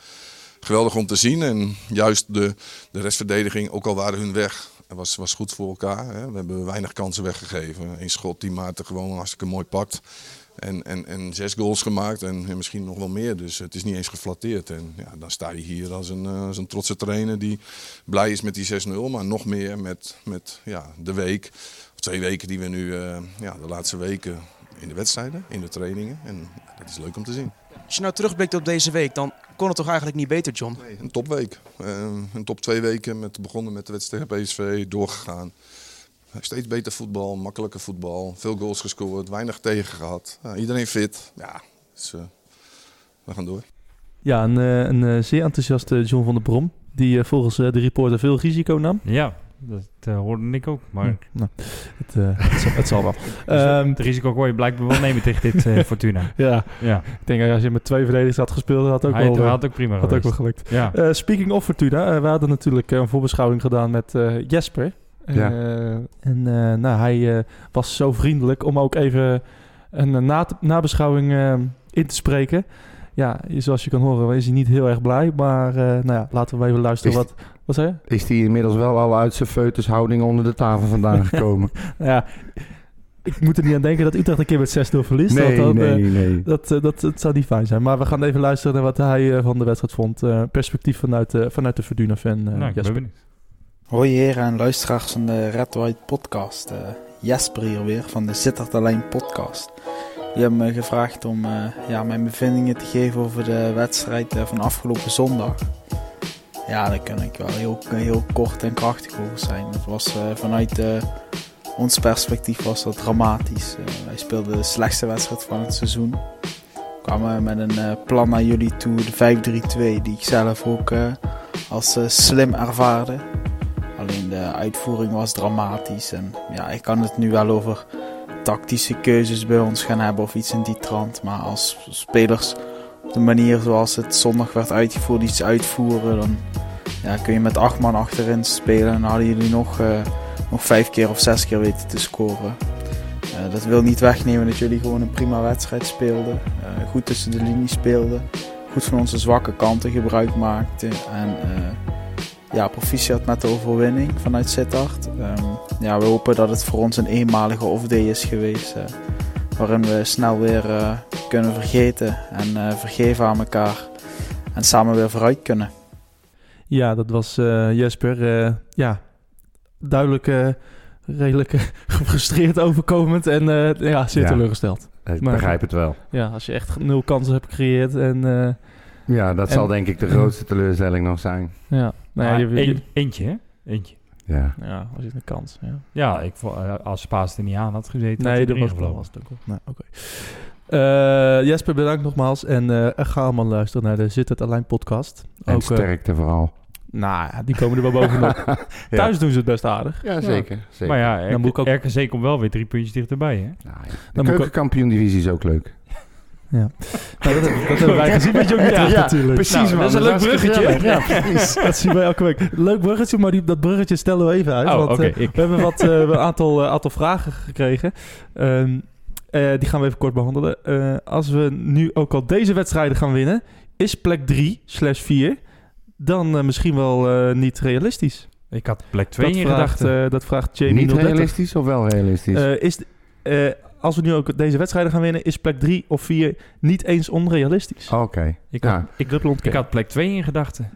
Speaker 8: geweldig om te zien. En juist de, de restverdediging, ook al waren hun weg, was, was goed voor elkaar. Hè. We hebben weinig kansen weggegeven. Eén schot die Maarten gewoon hartstikke mooi pakt. En, en, en zes goals gemaakt en en misschien nog wel meer. Dus het is niet eens geflatteerd. En ja, dan sta je hier als een, eh, als een trotse trainer die blij is met die 6-0. Maar nog meer met, met ja, de week, of twee weken die we nu, eh, ja, de laatste weken in de wedstrijden, in de trainingen. En ja, dat is leuk om te zien.
Speaker 2: Als je nou terugblikt op deze week, dan kon het toch eigenlijk niet beter, John?
Speaker 8: Een topweek. Eh, een top twee weken. Met, begonnen met de wedstrijd tegen PSV, doorgegaan. Steeds beter voetbal, makkelijker voetbal. Veel goals gescoord, weinig tegen gehad. Ja, iedereen fit. Ja, dus, eh, we gaan door.
Speaker 5: Ja, een, eh, een eh, zeer enthousiaste John van der Brom. Die eh, volgens eh, de reporter veel risico nam.
Speaker 7: Ja, dat eh, hoorde ik ook. Maar Dus
Speaker 5: Hm, nou, het, eh, het, zal, het zal wel. Ehm,
Speaker 7: het risico kon je blijkbaar wel nemen tegen dit eh, Fortuna.
Speaker 5: ja,
Speaker 7: Ja,
Speaker 5: ik denk eh, als je met twee verdedigers had gespeeld, had ook
Speaker 7: hij
Speaker 5: wel, eh,
Speaker 7: had ook prima
Speaker 5: had ook wel
Speaker 7: geweest.
Speaker 5: gelukt.
Speaker 7: Ja.
Speaker 5: Eh, speaking of Fortuna, eh, we hadden natuurlijk eh, een voorbeschouwing gedaan met eh, Jesper. Eh,
Speaker 6: Ja.
Speaker 5: En eh, nou, hij eh, was zo vriendelijk om ook even een eh, na nabeschouwing eh, in te spreken. Ja, zoals je kan horen is hij niet heel erg blij. Maar eh, nou ja, laten we even luisteren
Speaker 6: Is-
Speaker 5: wat... Wat zei je?
Speaker 6: Is die inmiddels wel al uit zijn feutushouding onder de tafel vandaan gekomen?
Speaker 5: Nou ja, ik moet er niet aan denken dat Utrecht een keer met 6-0 verliest. want
Speaker 6: nee,
Speaker 5: dan, eh,
Speaker 6: nee, nee.
Speaker 5: dat, eh, dat, dat zou niet fijn zijn. Maar we gaan even luisteren naar wat hij eh, van de wedstrijd vond. Eh, perspectief vanuit, eh, vanuit de Fortuna-fan eh,
Speaker 7: Nou, ik ben
Speaker 5: Jesper.
Speaker 7: benieuwd.
Speaker 9: Hoi heren en luisteraars van de Red White Podcast. Eh, Jesper hier weer van de Sittard Alleen Podcast. Die hebben me gevraagd om eh, ja, mijn bevindingen te geven over de wedstrijd eh, van afgelopen zondag. Ja, daar kan ik wel heel, heel kort en krachtig over zijn. Het was eh, vanuit eh, ons perspectief was dat dramatisch. Eh, wij speelden de slechtste wedstrijd van het seizoen. We kwamen met een eh, plan naar jullie toe, de 5-3-2, die ik zelf ook eh, als eh, slim ervaarde. Alleen de uitvoering was dramatisch. En ja, ik kan het nu wel over tactische keuzes bij ons gaan hebben of iets in die trant. Maar als spelers op de manier zoals het zondag werd uitgevoerd iets uitvoeren, dan ja, kun je met acht man achterin spelen. En dan hadden jullie nog, eh, nog vijf keer of zes keer weten te scoren. Eh, dat wil niet wegnemen dat jullie gewoon een prima wedstrijd speelden. Eh, goed tussen de linies speelden. Goed van onze zwakke kanten gebruik maakten. En eh, ja, proficiat met de overwinning vanuit Sittard. Ehm, ja, we hopen dat het voor ons een eenmalige off-day is geweest. eh, waarin we snel weer eh, kunnen vergeten en eh, vergeven aan elkaar. En samen weer vooruit kunnen.
Speaker 5: Ja, dat was eh, Jesper. eh, ja, duidelijk eh, redelijk eh, gefrustreerd overkomend en eh, ja, zeer
Speaker 6: Ja.
Speaker 5: teleurgesteld.
Speaker 6: Ik
Speaker 5: maar-
Speaker 6: begrijp het wel.
Speaker 5: Ja, als je echt nul kansen hebt gecreëerd en eh,
Speaker 6: Ja, dat
Speaker 5: En-
Speaker 6: zal denk ik de grootste teleurstelling nog zijn.
Speaker 5: ja, nou, ja,
Speaker 7: Maar
Speaker 5: je, je-
Speaker 7: een- eentje, hè? Eentje.
Speaker 6: Ja.
Speaker 5: ja, was het een kans. Ja.
Speaker 7: Ja, ik, vo- eh, als Spaas er niet aan had gezeten,
Speaker 5: Nee,
Speaker 7: had
Speaker 5: dat was,
Speaker 7: hij erin
Speaker 5: dat
Speaker 7: gevlogen.
Speaker 5: was het ook wel. Nou, oké. Eh, Jesper, bedankt nogmaals en eh, ga allemaal luisteren naar de Zit het Alleen podcast.
Speaker 6: En
Speaker 5: Ook, eh,
Speaker 6: sterkte vooral.
Speaker 5: nou, ja, die komen er wel bovenop.
Speaker 6: Ja.
Speaker 5: Thuis doen ze het best aardig.
Speaker 6: Ja, zeker. zeker.
Speaker 7: Maar ja,
Speaker 5: Dan moet ik ook-
Speaker 7: RK- RKC komt wel weer drie puntjes dichterbij, hè?
Speaker 6: Nou, ja. De
Speaker 5: Dan moet ik ook-
Speaker 6: keukenkampioen-divisie is ook leuk.
Speaker 5: Nou, dat, hebben- dat hebben wij gezien met Jong Utrecht natuurlijk.
Speaker 7: Nou, dat
Speaker 6: man.
Speaker 7: is een leuk
Speaker 6: hartstikke
Speaker 7: bruggetje.
Speaker 6: gezellig. Ja, precies.
Speaker 5: Dat zien we elke week. Leuk bruggetje, maar die, dat bruggetje stellen we even uit.
Speaker 7: Oh,
Speaker 5: want
Speaker 7: oké,
Speaker 5: eh,
Speaker 7: ik.
Speaker 5: we hebben wat, eh, een aantal, eh, aantal vragen gekregen. Ehm, Eh, die gaan we even kort behandelen. Eh, als we nu ook al deze wedstrijden gaan winnen, is plek 3 slash 4 dan eh, misschien wel eh, niet realistisch.
Speaker 7: Ik had plek 2
Speaker 5: dat,
Speaker 7: in
Speaker 5: vraagt,
Speaker 7: gedachten.
Speaker 5: eh, dat vraagt Jamie
Speaker 6: Niet
Speaker 5: 030.
Speaker 6: realistisch of wel realistisch?
Speaker 5: Eh, is, eh, als we nu ook deze wedstrijden gaan winnen, is plek 3 of 4 niet eens onrealistisch.
Speaker 6: Oké.
Speaker 7: ik,
Speaker 6: ja.
Speaker 7: had, ik,
Speaker 5: Dubbel
Speaker 7: ik
Speaker 5: ontkennen.
Speaker 7: had plek 2 in gedachten.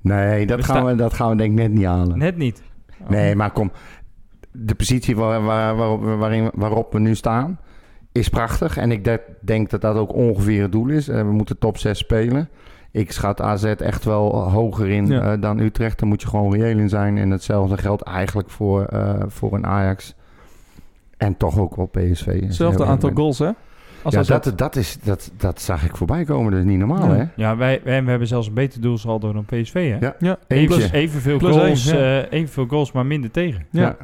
Speaker 6: Nee, dat
Speaker 7: We
Speaker 6: gaan,
Speaker 7: staan-
Speaker 6: we, dat gaan we denk ik net niet halen.
Speaker 7: Net niet. Oh.
Speaker 5: Oh.
Speaker 6: Nee, maar kom. De positie waar, waar- waarop, we- waarin, waarop we nu staan is prachtig. En ik de- denk dat dat ook ongeveer het doel is. Eh, we moeten top 6 spelen. Ik schat AZ echt wel hoger in
Speaker 5: Ja.
Speaker 6: eh, dan Utrecht. Daar moet je gewoon reëel in zijn. En hetzelfde geldt eigenlijk voor, eh, voor een Ajax. En toch ook wel PSV.
Speaker 5: Hetzelfde aantal
Speaker 6: goals.
Speaker 5: goals, hè? Als
Speaker 6: Ja,
Speaker 5: AZ.
Speaker 6: dat, dat, is, dat, dat zag ik voorbij komen. Dat is niet normaal,
Speaker 5: Ja.
Speaker 6: hè?
Speaker 7: Ja, wij, wij we hebben zelfs een beter doelsaldo dan PSV, hè?
Speaker 6: Ja,
Speaker 5: Ja,
Speaker 7: Even,
Speaker 6: Eentje.
Speaker 7: evenveel,
Speaker 5: Plus
Speaker 7: goals,
Speaker 5: één,
Speaker 7: eh, evenveel goals, maar minder tegen.
Speaker 5: Ja.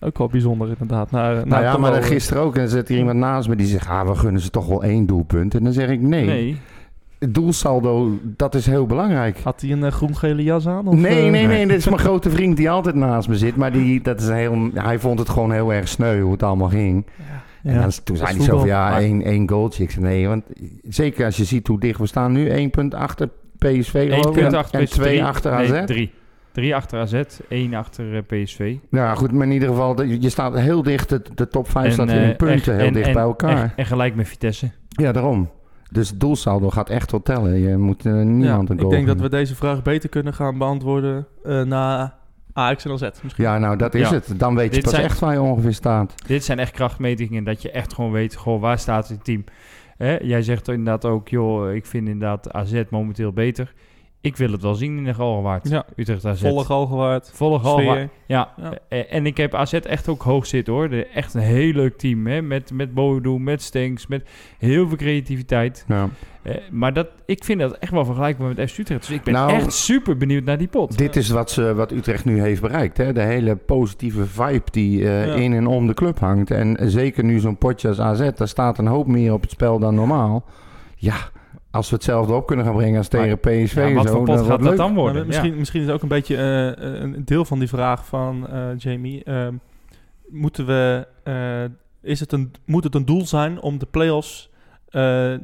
Speaker 5: ook wel bijzonder inderdaad. Na,
Speaker 6: Nou ja, maar dan gisteren ook. En dan zit er iemand naast me die zegt... Ah, we gunnen ze toch wel één doelpunt. En dan zeg ik nee.
Speaker 7: Nee.
Speaker 6: Het doelsaldo, dat is heel belangrijk.
Speaker 5: Had hij een eh, groen-gele jas aan? Of,
Speaker 6: Nee,
Speaker 5: eh,
Speaker 6: nee, nee. Dit is mijn grote vriend die altijd naast me zit. Maar die, dat is een heel, hij vond het gewoon heel erg sneu hoe het allemaal ging. En
Speaker 5: Ja.
Speaker 6: dan- toen zei
Speaker 5: is
Speaker 6: hij zo van,
Speaker 5: voetbal.
Speaker 6: ja,
Speaker 5: Maar-
Speaker 6: één, één goaltje. Ik zei, nee, want zeker als je ziet hoe dicht we staan nu. één punt achter PSV
Speaker 7: Eén
Speaker 6: geloof ik.
Speaker 7: punt achter
Speaker 6: en
Speaker 7: PSV,
Speaker 6: twee
Speaker 7: drie-
Speaker 6: achter AZ.
Speaker 7: nee, drie. Drie achter AZ, één achter eh, PSV.
Speaker 6: Nou goed, maar in ieder geval, de- je staat heel dicht. De, de top 5 staat
Speaker 7: eh,
Speaker 6: in de punten
Speaker 7: echt-
Speaker 6: heel
Speaker 7: en-
Speaker 6: dicht
Speaker 7: en-
Speaker 6: bij elkaar.
Speaker 7: echt- en gelijk met Vitesse.
Speaker 6: Ja, daarom. Dus het doelsaldo gaat echt wel tellen. Je moet eh, niemand een
Speaker 5: ik
Speaker 6: goal
Speaker 5: denk dat
Speaker 6: gunnen.
Speaker 5: we deze vraag beter kunnen gaan beantwoorden eh, na AX en AZ. Misschien.
Speaker 6: Ja, nou dat is
Speaker 7: Ja.
Speaker 6: het. Dan weet je
Speaker 7: Dit
Speaker 6: pas
Speaker 7: zijn-
Speaker 6: echt waar je ongeveer staat.
Speaker 7: Dit zijn echt krachtmetingen dat je echt gewoon weet, goh, waar staat het team? Hè, jij zegt inderdaad ook, joh, ik vind inderdaad AZ momenteel beter. Ik wil het wel zien in de Galgenwaard.
Speaker 5: Ja.
Speaker 7: Utrecht AZ.
Speaker 5: Volle gal gewaard.
Speaker 7: Volle Galgenwaard.
Speaker 5: Sfeer.
Speaker 7: Ja,
Speaker 5: Ja.
Speaker 7: eh, en ik heb AZ echt ook hoog zitten hoor. De- Echt een heel leuk team hè? met, met Bodo, met Stenks, met heel veel creativiteit.
Speaker 6: Ja.
Speaker 7: Eh, maar dat, ik vind dat echt wel vergelijkbaar met FC Utrecht. Dus ik ben
Speaker 6: Nou,
Speaker 7: echt super benieuwd naar die pot.
Speaker 6: Dit is wat, ze, wat Utrecht nu heeft bereikt. Hè? De hele positieve vibe die eh,
Speaker 5: Ja.
Speaker 6: in en om de club hangt. En zeker nu zo'n potje als AZ, daar staat een hoop meer op het spel dan normaal. Ja, als we hetzelfde op kunnen gaan brengen als tegen PSV
Speaker 7: Ja,
Speaker 6: en
Speaker 7: wat
Speaker 6: zo,
Speaker 7: voor pot
Speaker 6: dan
Speaker 7: gaat
Speaker 6: wordt
Speaker 7: dat
Speaker 6: leuk.
Speaker 7: dan
Speaker 5: Maar
Speaker 7: worden? Ja.
Speaker 5: misschien, misschien Nou, is ook een beetje eh, een deel van die vraag van eh, Jamie. ehm, moeten we, eh, is het een, moet het een doel zijn om de play-offs, eh, eh,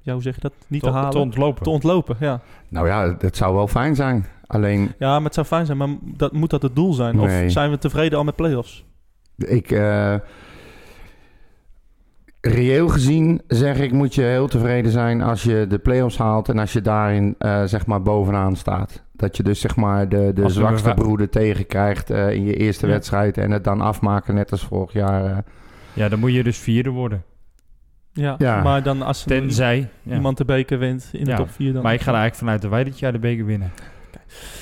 Speaker 5: ja, hoe zeg je dat, niet
Speaker 7: te,
Speaker 5: te halen?
Speaker 7: te ontlopen.
Speaker 5: te ontlopen, ja.
Speaker 6: Nou ja, het zou wel fijn zijn. Alleen,
Speaker 5: Ja, maar het zou fijn zijn, maar dat, moet dat het doel zijn?
Speaker 6: Nee.
Speaker 5: Of zijn we tevreden al met play-offs?
Speaker 6: ik... eh, Reëel gezien zeg ik, moet je heel tevreden zijn als je de play-offs haalt en als je daarin eh, zeg maar bovenaan staat. Dat je dus zeg maar de, de
Speaker 7: nummer
Speaker 6: zwakste
Speaker 7: vijf.
Speaker 6: broeder tegenkrijgt eh, in je eerste
Speaker 5: Ja.
Speaker 6: wedstrijd en het dan afmaken net als vorig jaar. eh.
Speaker 7: Ja, dan moet je dus vierde worden.
Speaker 5: Ja,
Speaker 6: Ja.
Speaker 5: maar dan als
Speaker 7: Tenzij. Ja.
Speaker 5: iemand de beker wint in de
Speaker 7: Ja,
Speaker 5: top 4 dan.
Speaker 7: Maar ik ga er eigenlijk vanuit dat wij dit jaar de beker winnen.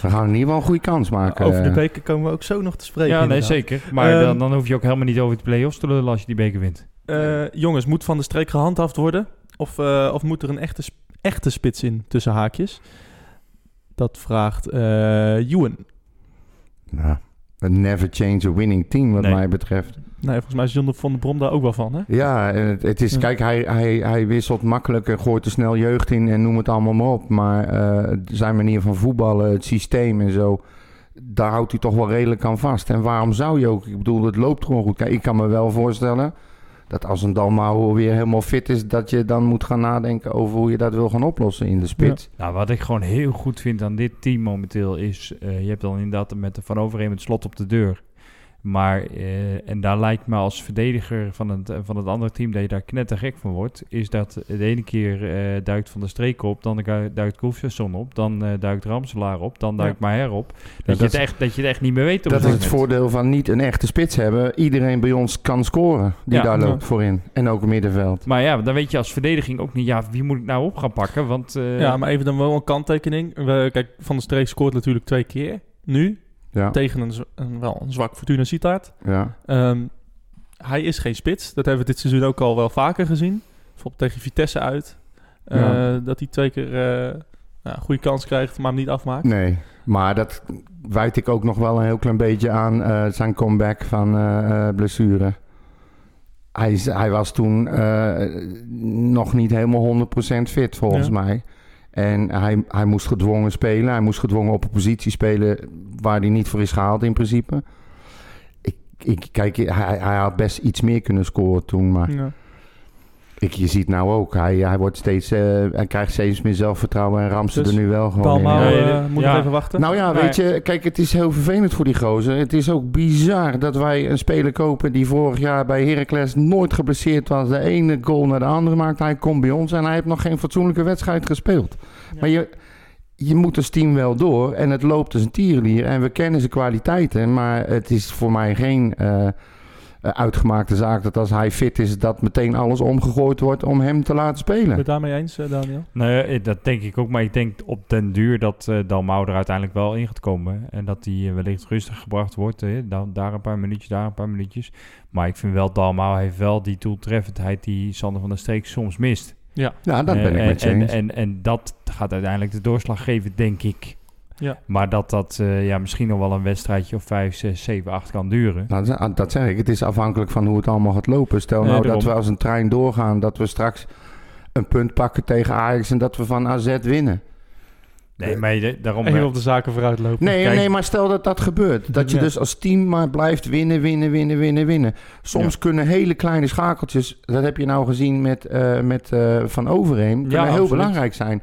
Speaker 6: We gaan in ieder geval een goede kans maken.
Speaker 5: Over de
Speaker 6: eh.
Speaker 5: beker komen we ook zo nog te spreken.
Speaker 7: ja, nee,
Speaker 5: inderdaad.
Speaker 7: zeker. Maar
Speaker 5: Ehm,
Speaker 7: dan, dan hoef je ook helemaal niet over de play-offs te lullen als je die beker wint.
Speaker 5: Eh, jongens, moet Van de Streek gehandhaafd worden? Of, eh, of moet er een echte, sp- echte spits in tussen haakjes? Dat vraagt eh Ewan.
Speaker 6: Nou, a never change a winning team wat
Speaker 7: Nee.
Speaker 6: mij betreft.
Speaker 5: Nee, Nou, volgens mij is John van der Brom daar ook wel van, hè?
Speaker 6: Ja, en het, het is,
Speaker 5: Ja.
Speaker 6: kijk, hij, hij, hij wisselt makkelijk en gooit er snel jeugd in en noem het allemaal maar op. Maar eh, zijn manier van voetballen, het systeem en zo, daar houdt hij toch wel redelijk aan vast. En waarom zou je ook? Ik bedoel, het loopt gewoon goed. Kijk, ik kan me wel voorstellen dat als een Dalmau weer helemaal fit is, dat je dan moet gaan nadenken over hoe je dat wil gaan oplossen in de spits.
Speaker 7: Nou, wat ik gewoon heel goed vind aan dit team momenteel is... eh, je hebt dan inderdaad met de Van Overheem het slot op de deur. Maar, eh, en daar lijkt me als verdediger van het, van het andere team... dat je daar knettergek van wordt. Is dat de ene keer eh, duikt Van de Streek op... dan du- duikt Koefjesson op, dan eh, duikt Ramselaar op... dan duikt Maher op. Dat,
Speaker 6: dat
Speaker 7: je het
Speaker 6: is-
Speaker 7: echt, dat je het echt niet meer weet op
Speaker 6: Dat
Speaker 7: dit
Speaker 6: is het
Speaker 7: moment.
Speaker 6: voordeel van niet een echte spits hebben. Iedereen bij ons kan scoren die
Speaker 7: Ja.
Speaker 6: daar loopt
Speaker 5: Ja.
Speaker 6: voorin. En ook middenveld.
Speaker 7: Maar ja, dan weet je als verdediging ook niet, ja, wie moet ik nou op gaan pakken? Want eh,
Speaker 5: ja, maar even dan wel een kanttekening. We, kijk, Van der Streek scoort natuurlijk twee keer. Nu,
Speaker 6: Ja,
Speaker 5: tegen een, z- een- wel een zwak Fortuna Sittard.
Speaker 6: ja.
Speaker 5: Ehm, hij is geen spits. Dat hebben we dit seizoen ook al wel vaker gezien. Bijvoorbeeld tegen Vitesse uit. Eh,
Speaker 6: Ja.
Speaker 5: Dat hij twee keer eh, nou, een goede kans krijgt, maar hem niet afmaakt.
Speaker 6: Nee, maar dat wijd ik ook nog wel een heel klein beetje aan eh, zijn comeback van eh, eh, blessure. Hij, is- hij was toen eh, nog niet helemaal 100% fit volgens
Speaker 5: Ja.
Speaker 6: mij. En hij, hij moest gedwongen spelen. Hij moest gedwongen op een positie spelen waar hij niet voor is gehaald in principe. Ik, ik, kijk, hij, hij had best iets meer kunnen scoren toen, maar
Speaker 5: Ja.
Speaker 6: ik, je ziet nou ook, hij, hij, wordt steeds, eh, hij krijgt steeds meer zelfvertrouwen en ramt ze
Speaker 5: Dus
Speaker 6: er nu wel gewoon in.
Speaker 5: Palma
Speaker 6: Ja.
Speaker 7: Nee,
Speaker 5: eh,
Speaker 7: dit-
Speaker 5: moet
Speaker 7: ja.
Speaker 5: nog even wachten.
Speaker 6: Nou ja,
Speaker 7: Nee.
Speaker 6: weet je, kijk, het is heel vervelend voor die gozer. Het is ook bizar dat wij een speler kopen die vorig jaar bij Heracles nooit geblesseerd was. De ene goal naar de andere maakt. Hij komt bij ons en hij heeft nog geen fatsoenlijke wedstrijd gespeeld. Maar je, je moet als team wel door en het loopt als een tierenlier. En we kennen zijn kwaliteiten, maar het is voor mij geen eh, uitgemaakte zaak dat als hij fit is, dat meteen alles omgegooid wordt om hem te laten
Speaker 5: Ben je
Speaker 6: spelen.
Speaker 5: het daarmee eens, eh, Daniel?
Speaker 7: Nou ja, eh, dat denk ik ook. Maar ik denk op den duur dat eh Dalmau er uiteindelijk wel in gaat komen. En dat hij eh, wellicht rustig gebracht wordt. eh, dan, daar een paar minuutjes, daar een paar minuutjes. Maar ik vind wel, Dalmau heeft wel die doeltreffendheid die Sander van der Streek soms mist.
Speaker 6: Ja, dat ben
Speaker 7: Eh,
Speaker 6: ik
Speaker 7: en,
Speaker 6: met je
Speaker 7: en,
Speaker 6: eens.
Speaker 7: en, en dat gaat uiteindelijk de doorslag geven, denk ik.
Speaker 5: Ja.
Speaker 7: Maar dat dat eh, ja, misschien nog wel een wedstrijdje of 5, 6, 7, 8 kan duren.
Speaker 6: Nou, dat- dat zeg ik. Het is afhankelijk van hoe het allemaal gaat lopen. Stel
Speaker 7: Nee,
Speaker 6: nou dat
Speaker 7: daarom.
Speaker 6: we als een trein doorgaan, dat we straks een punt pakken tegen Ajax en dat we van AZ winnen. Eh,
Speaker 7: Nee, maar je- daarom...
Speaker 5: En heel op de zaken vooruit lopen.
Speaker 6: Nee,
Speaker 7: Kijk-
Speaker 6: nee, maar stel dat dat gebeurt. Dat je
Speaker 5: Ja.
Speaker 6: dus als team maar blijft winnen, winnen, winnen, winnen, winnen. Soms kunnen hele kleine schakeltjes, dat heb je nou gezien met, eh, met eh, Van Overeem, kunnen heel
Speaker 7: absoluut.
Speaker 6: belangrijk zijn.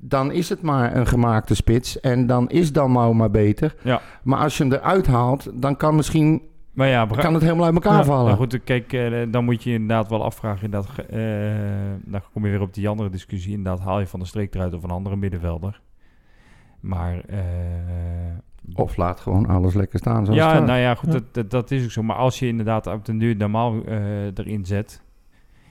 Speaker 6: Dan is het maar een gemaakte spits en dan is Dalmau maar beter.
Speaker 7: Ja.
Speaker 6: Maar als je hem eruit haalt, dan kan, misschien,
Speaker 7: maar ja, bra-
Speaker 6: kan het helemaal uit elkaar
Speaker 5: Ja,
Speaker 6: vallen.
Speaker 7: Maar goed, kijk, eh, dan moet je inderdaad wel afvragen. Inderdaad, ge- eh, dan kom je weer op die andere discussie. Inderdaad, haal je van de streek eruit of een andere middenvelder. Maar. eh,
Speaker 6: Of laat gewoon alles lekker staan zoals
Speaker 7: ja,
Speaker 6: het staat.
Speaker 7: nou ja, goed,
Speaker 5: Ja.
Speaker 7: Dat, dat, dat is ook zo. Maar als je inderdaad op den duur normaal eh, erin zet,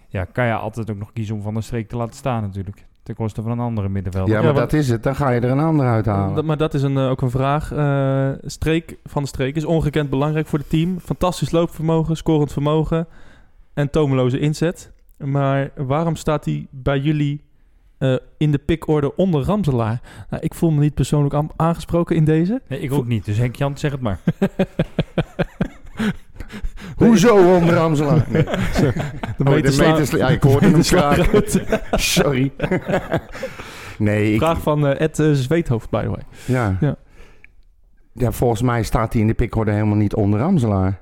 Speaker 7: ja, kan je altijd ook nog kiezen om van de streek te laten staan, natuurlijk. Ten koste van een andere middenvelder.
Speaker 6: Ja,
Speaker 5: Ja,
Speaker 6: maar
Speaker 5: want-
Speaker 6: dat is het. Dan ga je er een ander uithalen.
Speaker 5: Dat- maar dat is een, eh, ook een vraag. Eh, streek van de streek is ongekend belangrijk voor het team. Fantastisch loopvermogen, scorend vermogen en tomeloze inzet. Maar waarom staat hij bij jullie eh, in de pickorde onder Ramselaar? Nou, ik voel me niet persoonlijk am- aangesproken in deze.
Speaker 6: Oh,
Speaker 7: Nee, ik ook niet. Dus Henk Jan, zeg het maar.
Speaker 6: Hoezo om Ramselaar? Nee.
Speaker 5: De
Speaker 6: Oh, de
Speaker 5: metersla-
Speaker 6: metersla- ja, ik hoorde hem
Speaker 5: meterslag
Speaker 6: kraken.
Speaker 5: uit.
Speaker 6: Sorry. nee, ik,
Speaker 5: Vraag van eh, Ed eh, Zweethoofd, by the way. Oké.
Speaker 6: ja.
Speaker 5: Ja.
Speaker 6: Ja. Volgens mij staat hij in de pickorde helemaal niet onder Ramselaar.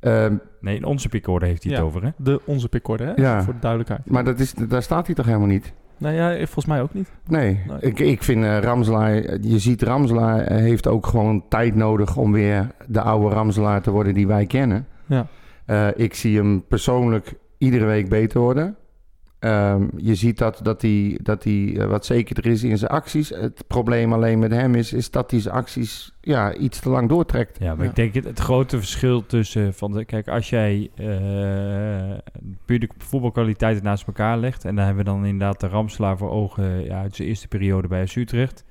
Speaker 6: Ehm,
Speaker 7: Nee, in onze pickorde heeft hij het
Speaker 5: Ja.
Speaker 7: over, hè?
Speaker 5: De, onze pickorde, hè?
Speaker 6: Ja.
Speaker 5: Voor de duidelijkheid.
Speaker 6: maar dat is, daar staat hij toch helemaal niet?
Speaker 5: Nou ja, volgens mij ook niet.
Speaker 6: Nee,
Speaker 5: Nee.
Speaker 6: Ik, ik vind eh, Ramselaar... Je ziet Ramselaar eh, heeft ook gewoon tijd nodig... om weer de oude Ramselaar te worden die wij kennen.
Speaker 5: Ja.
Speaker 6: Eh, ik zie hem persoonlijk iedere week beter worden. Ehm, je ziet dat, dat hij, dat hij eh, wat zekerder is in zijn acties. Het probleem alleen met hem is, is dat hij zijn acties ja, iets te lang doortrekt.
Speaker 7: Ja, maar
Speaker 5: Ja.
Speaker 7: ik denk het, het grote verschil tussen van de, kijk, als jij eh puur de voetbalkwaliteiten naast elkaar legt en dan hebben we dan inderdaad de Ramslaar voor ogen ja, uit zijn eerste periode bij SC Utrecht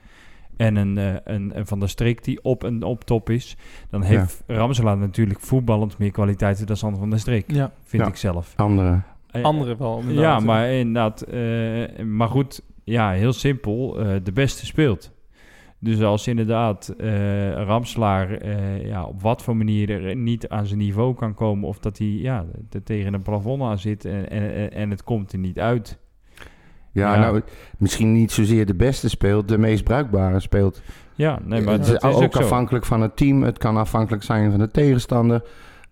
Speaker 7: en een, eh, een, een van der Streek die op en op top is, dan heeft Ramslaar natuurlijk voetballend meer kwaliteiten dan Sander van der Streek,
Speaker 5: Ja.
Speaker 7: vind
Speaker 6: Ja.
Speaker 7: ik zelf.
Speaker 6: Andere.
Speaker 7: Eh,
Speaker 5: Anderen wel.
Speaker 7: ja,
Speaker 5: inderdaad.
Speaker 7: maar inderdaad. eh, maar goed, ja, heel simpel. eh, de beste speelt. Dus als inderdaad eh, Ramslaar eh, ja, op wat voor manier er niet aan zijn niveau kan komen... of dat hij ja, er tegen een plafond aan zit en, en, en- en het komt er niet uit.
Speaker 6: Ja,
Speaker 7: Ja.
Speaker 6: nou, misschien niet zozeer de beste speelt, de meest bruikbare speelt.
Speaker 7: Ja, nee, maar
Speaker 6: het
Speaker 7: dat is
Speaker 6: ook,
Speaker 7: ook zo.
Speaker 6: afhankelijk van het team. Het kan afhankelijk zijn van de tegenstander.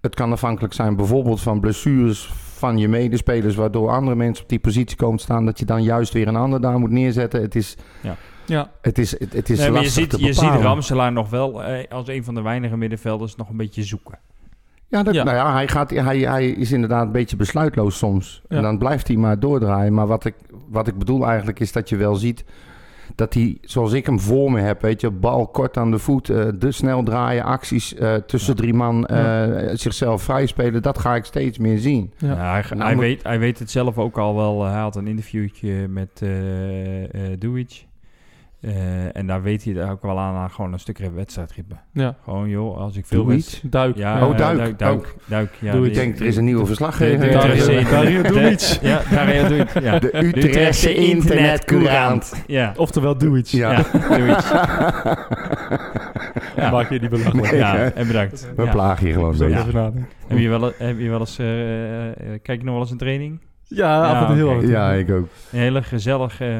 Speaker 6: Het kan afhankelijk zijn bijvoorbeeld van blessures van je medespelers... waardoor andere mensen op die positie komen te staan... dat je dan juist weer een ander daar moet neerzetten. Het is,
Speaker 5: Ja.
Speaker 6: het is, het, het is
Speaker 7: Nee, maar je
Speaker 6: lastig
Speaker 7: ziet,
Speaker 6: te
Speaker 7: je
Speaker 6: bepalen.
Speaker 7: ziet Ramselaar nog wel eh, als een van de weinige middenvelders nog een beetje zoeken.
Speaker 6: Ja, dat,
Speaker 5: Ja.
Speaker 6: Nou ja hij, gaat, hij, hij is inderdaad een beetje besluitloos soms.
Speaker 5: Ja.
Speaker 6: En dan blijft hij maar doordraaien. Maar wat ik, wat ik bedoel eigenlijk is dat je wel ziet dat hij, zoals ik hem voor me heb, weet je, bal kort aan de voet, eh, de snel draaien, acties eh, tussen drie man, eh, zichzelf vrijspelen. Dat ga ik steeds meer zien.
Speaker 5: Ja.
Speaker 7: Nou, hij,
Speaker 6: Nou,
Speaker 7: hij,
Speaker 6: moet-
Speaker 7: weet, hij weet het zelf ook al wel. Eh, Hij had een interviewtje met eh eh Doeitch. Eh, en daar weet hij daar ook wel aan, aan gewoon een stukje wedstrijdritme.
Speaker 5: Ja.
Speaker 7: Gewoon joh, als ik veel wedst-
Speaker 5: Duik.
Speaker 7: Ja,
Speaker 6: Oh,
Speaker 7: eh,
Speaker 6: Duik.
Speaker 7: duik, duik, duik, ja,
Speaker 5: Doe
Speaker 7: die-
Speaker 6: Ik denk, er is een nieuwe
Speaker 7: die-
Speaker 6: verslaggever.
Speaker 7: die-
Speaker 5: Daar-
Speaker 7: Utrechtse
Speaker 5: daar- daar-
Speaker 7: internet-
Speaker 5: doe iets.
Speaker 7: Ja, daar doe iets. Ja,
Speaker 6: De Utrechtse internetcourant.
Speaker 7: Ja,
Speaker 5: Oftewel, doe iets.
Speaker 6: Ja.
Speaker 7: ja, doe iets. Ja.
Speaker 5: Maak je die belachelijk.
Speaker 6: Nee,
Speaker 7: Ja,
Speaker 6: hè?
Speaker 7: en bedankt.
Speaker 6: We
Speaker 7: Ja.
Speaker 6: plagen je gewoon een
Speaker 5: Zo
Speaker 6: beetje.
Speaker 5: even nadenken.
Speaker 7: Heb je wel, e- heb je wel eens, eh, eh, kijk je nog wel eens een training?
Speaker 5: Ja, af en toe
Speaker 7: oké.
Speaker 5: heel af en toe.
Speaker 6: Ja, ik ook.
Speaker 7: Een hele gezellige eh,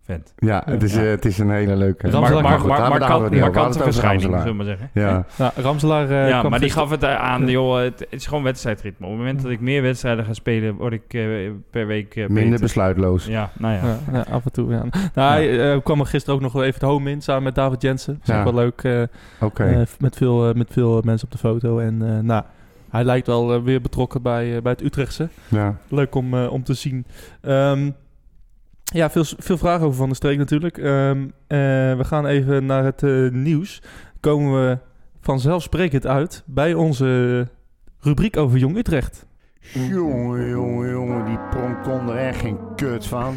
Speaker 7: vent.
Speaker 6: Ja, het is,
Speaker 5: Ja.
Speaker 6: eh, het is een hele leuke.
Speaker 5: Ramselaar- maar
Speaker 7: maar maar,
Speaker 5: goed,
Speaker 7: maar,
Speaker 6: daar
Speaker 7: maar,
Speaker 6: hebben we het
Speaker 7: kan,
Speaker 6: niet
Speaker 7: maar
Speaker 6: over. We hadden het
Speaker 7: kan
Speaker 6: over
Speaker 7: verschijning,
Speaker 6: Ramselaar.
Speaker 7: zullen we maar zeggen.
Speaker 6: Ja,
Speaker 5: Nou, Ramselaar eh,
Speaker 7: ja,
Speaker 5: kwam
Speaker 7: maar die
Speaker 5: gisteren-
Speaker 7: gaf het eh, aan, joh, het, het is gewoon wedstrijdritme. Op het moment dat ik meer wedstrijden ga spelen, word ik eh, per week eh,
Speaker 6: minder
Speaker 7: beter.
Speaker 6: besluitloos.
Speaker 7: Ja, nou ja.
Speaker 5: Ja, ja, af en toe. Ja. Nou, Hij eh, kwam er gisteren ook nog wel even het home in samen met David Jensen. Dat is
Speaker 6: Ja.
Speaker 5: ook wel leuk. eh,
Speaker 6: Oké.
Speaker 5: eh, met, veel, eh, met veel mensen op de foto. En eh, nou, hij lijkt wel eh, weer betrokken bij, eh, bij het Utrechtse.
Speaker 6: ja.
Speaker 5: Leuk om, eh, om te zien. Ehm, ja, veel, veel vragen over Van de Streek natuurlijk. Ehm, eh, we gaan even naar het eh, nieuws. Komen we vanzelfsprekend uit bij onze rubriek over Jong Utrecht.
Speaker 6: Jongen, jongen, jongen, die pronk kon er echt geen kut van.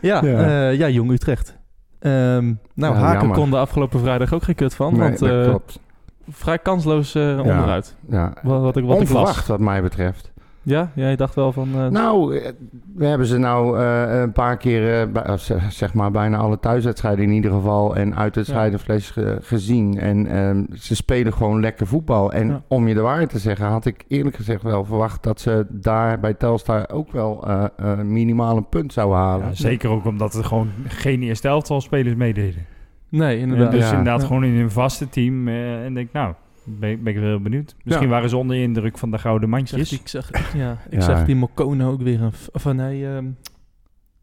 Speaker 5: Ja,
Speaker 6: Ja.
Speaker 5: ja. ja Jong Utrecht. Ehm, nou,
Speaker 6: Ja,
Speaker 5: Haken
Speaker 6: jammer.
Speaker 5: kon de afgelopen vrijdag ook geen kut van.
Speaker 6: Nee,
Speaker 5: want
Speaker 6: dat
Speaker 5: eh,
Speaker 6: klopt.
Speaker 5: vrij kansloos eh, onderuit.
Speaker 6: Ja.
Speaker 5: Wat, wat ik, wat ik las.
Speaker 6: Onverwacht wat mij betreft.
Speaker 5: Ja, jij dacht wel van... eh,
Speaker 6: Nou, eh, we hebben ze nou eh, een paar keer, eh, bij- eh, zeg- zeg maar bijna alle thuiswedstrijden in ieder geval en uitwedstrijden fles ge- gezien. En ehm, ze spelen gewoon lekker voetbal. En
Speaker 5: Ja.
Speaker 6: om je de waarheid te zeggen, had ik eerlijk gezegd wel verwacht dat ze daar bij Telstar ook wel eh, eh, minimaal een punt zouden halen.
Speaker 7: Ja, zeker ook omdat er gewoon geen eerste elftal spelers meededen.
Speaker 5: nee,
Speaker 7: En
Speaker 5: inderdaad.
Speaker 7: dus
Speaker 6: Ja.
Speaker 7: inderdaad
Speaker 5: Ja.
Speaker 7: gewoon in een vaste team. eh, en denk, nou, ben, ben ik wel heel benieuwd. Misschien
Speaker 6: Ja.
Speaker 7: waren ze onder de indruk van de gouden
Speaker 5: Ik zag, die-
Speaker 7: mandjes.
Speaker 5: ik zag, ja, ik
Speaker 6: Ja.
Speaker 5: zag die Mokone ook weer een... f- Of nee, ehm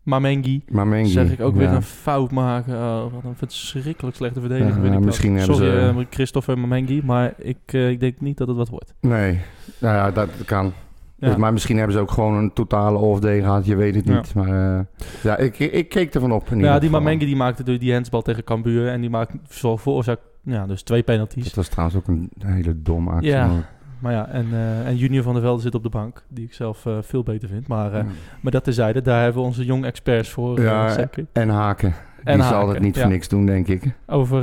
Speaker 5: Mamengi.
Speaker 6: Maar Mengi,
Speaker 5: Zeg ik ook
Speaker 6: ja.
Speaker 5: weer een fout maken. Oh, wat een verschrikkelijk slechte verdediger.
Speaker 6: Ja, nou,
Speaker 5: vind ik dat.
Speaker 6: misschien hebben
Speaker 5: Sorry,
Speaker 6: ze-
Speaker 5: eh, Christopher Mamengi. Maar ik, eh, ik denk niet dat het wat wordt.
Speaker 6: Nee, nou ja, dat kan.
Speaker 5: Ja.
Speaker 6: Dus, maar misschien hebben ze ook gewoon een totale off-day gehad, je weet het
Speaker 5: Ja.
Speaker 6: niet. Maar eh, ja, ik, ik keek ervan op. in ieder
Speaker 5: ja, die
Speaker 6: geval.
Speaker 5: Mamengi die maakte door die handsbal tegen Cambuur. En die maakte zo veroorzaakt... Ja, dus twee penalties.
Speaker 6: Dat was trouwens ook een hele domme actie.
Speaker 5: Ja.
Speaker 6: hoor.
Speaker 5: Maar ja, en, eh, en Junior van der Velde zit op de bank. Die ik zelf eh, veel beter vind. Maar, eh, maar dat tezijde, daar hebben we onze jong experts voor. eh,
Speaker 6: Ja,
Speaker 5: zeker.
Speaker 6: En haken.
Speaker 5: En
Speaker 6: die zal
Speaker 5: Haken,
Speaker 6: dat niet
Speaker 5: ja.
Speaker 6: voor niks doen, denk ik.
Speaker 5: Over,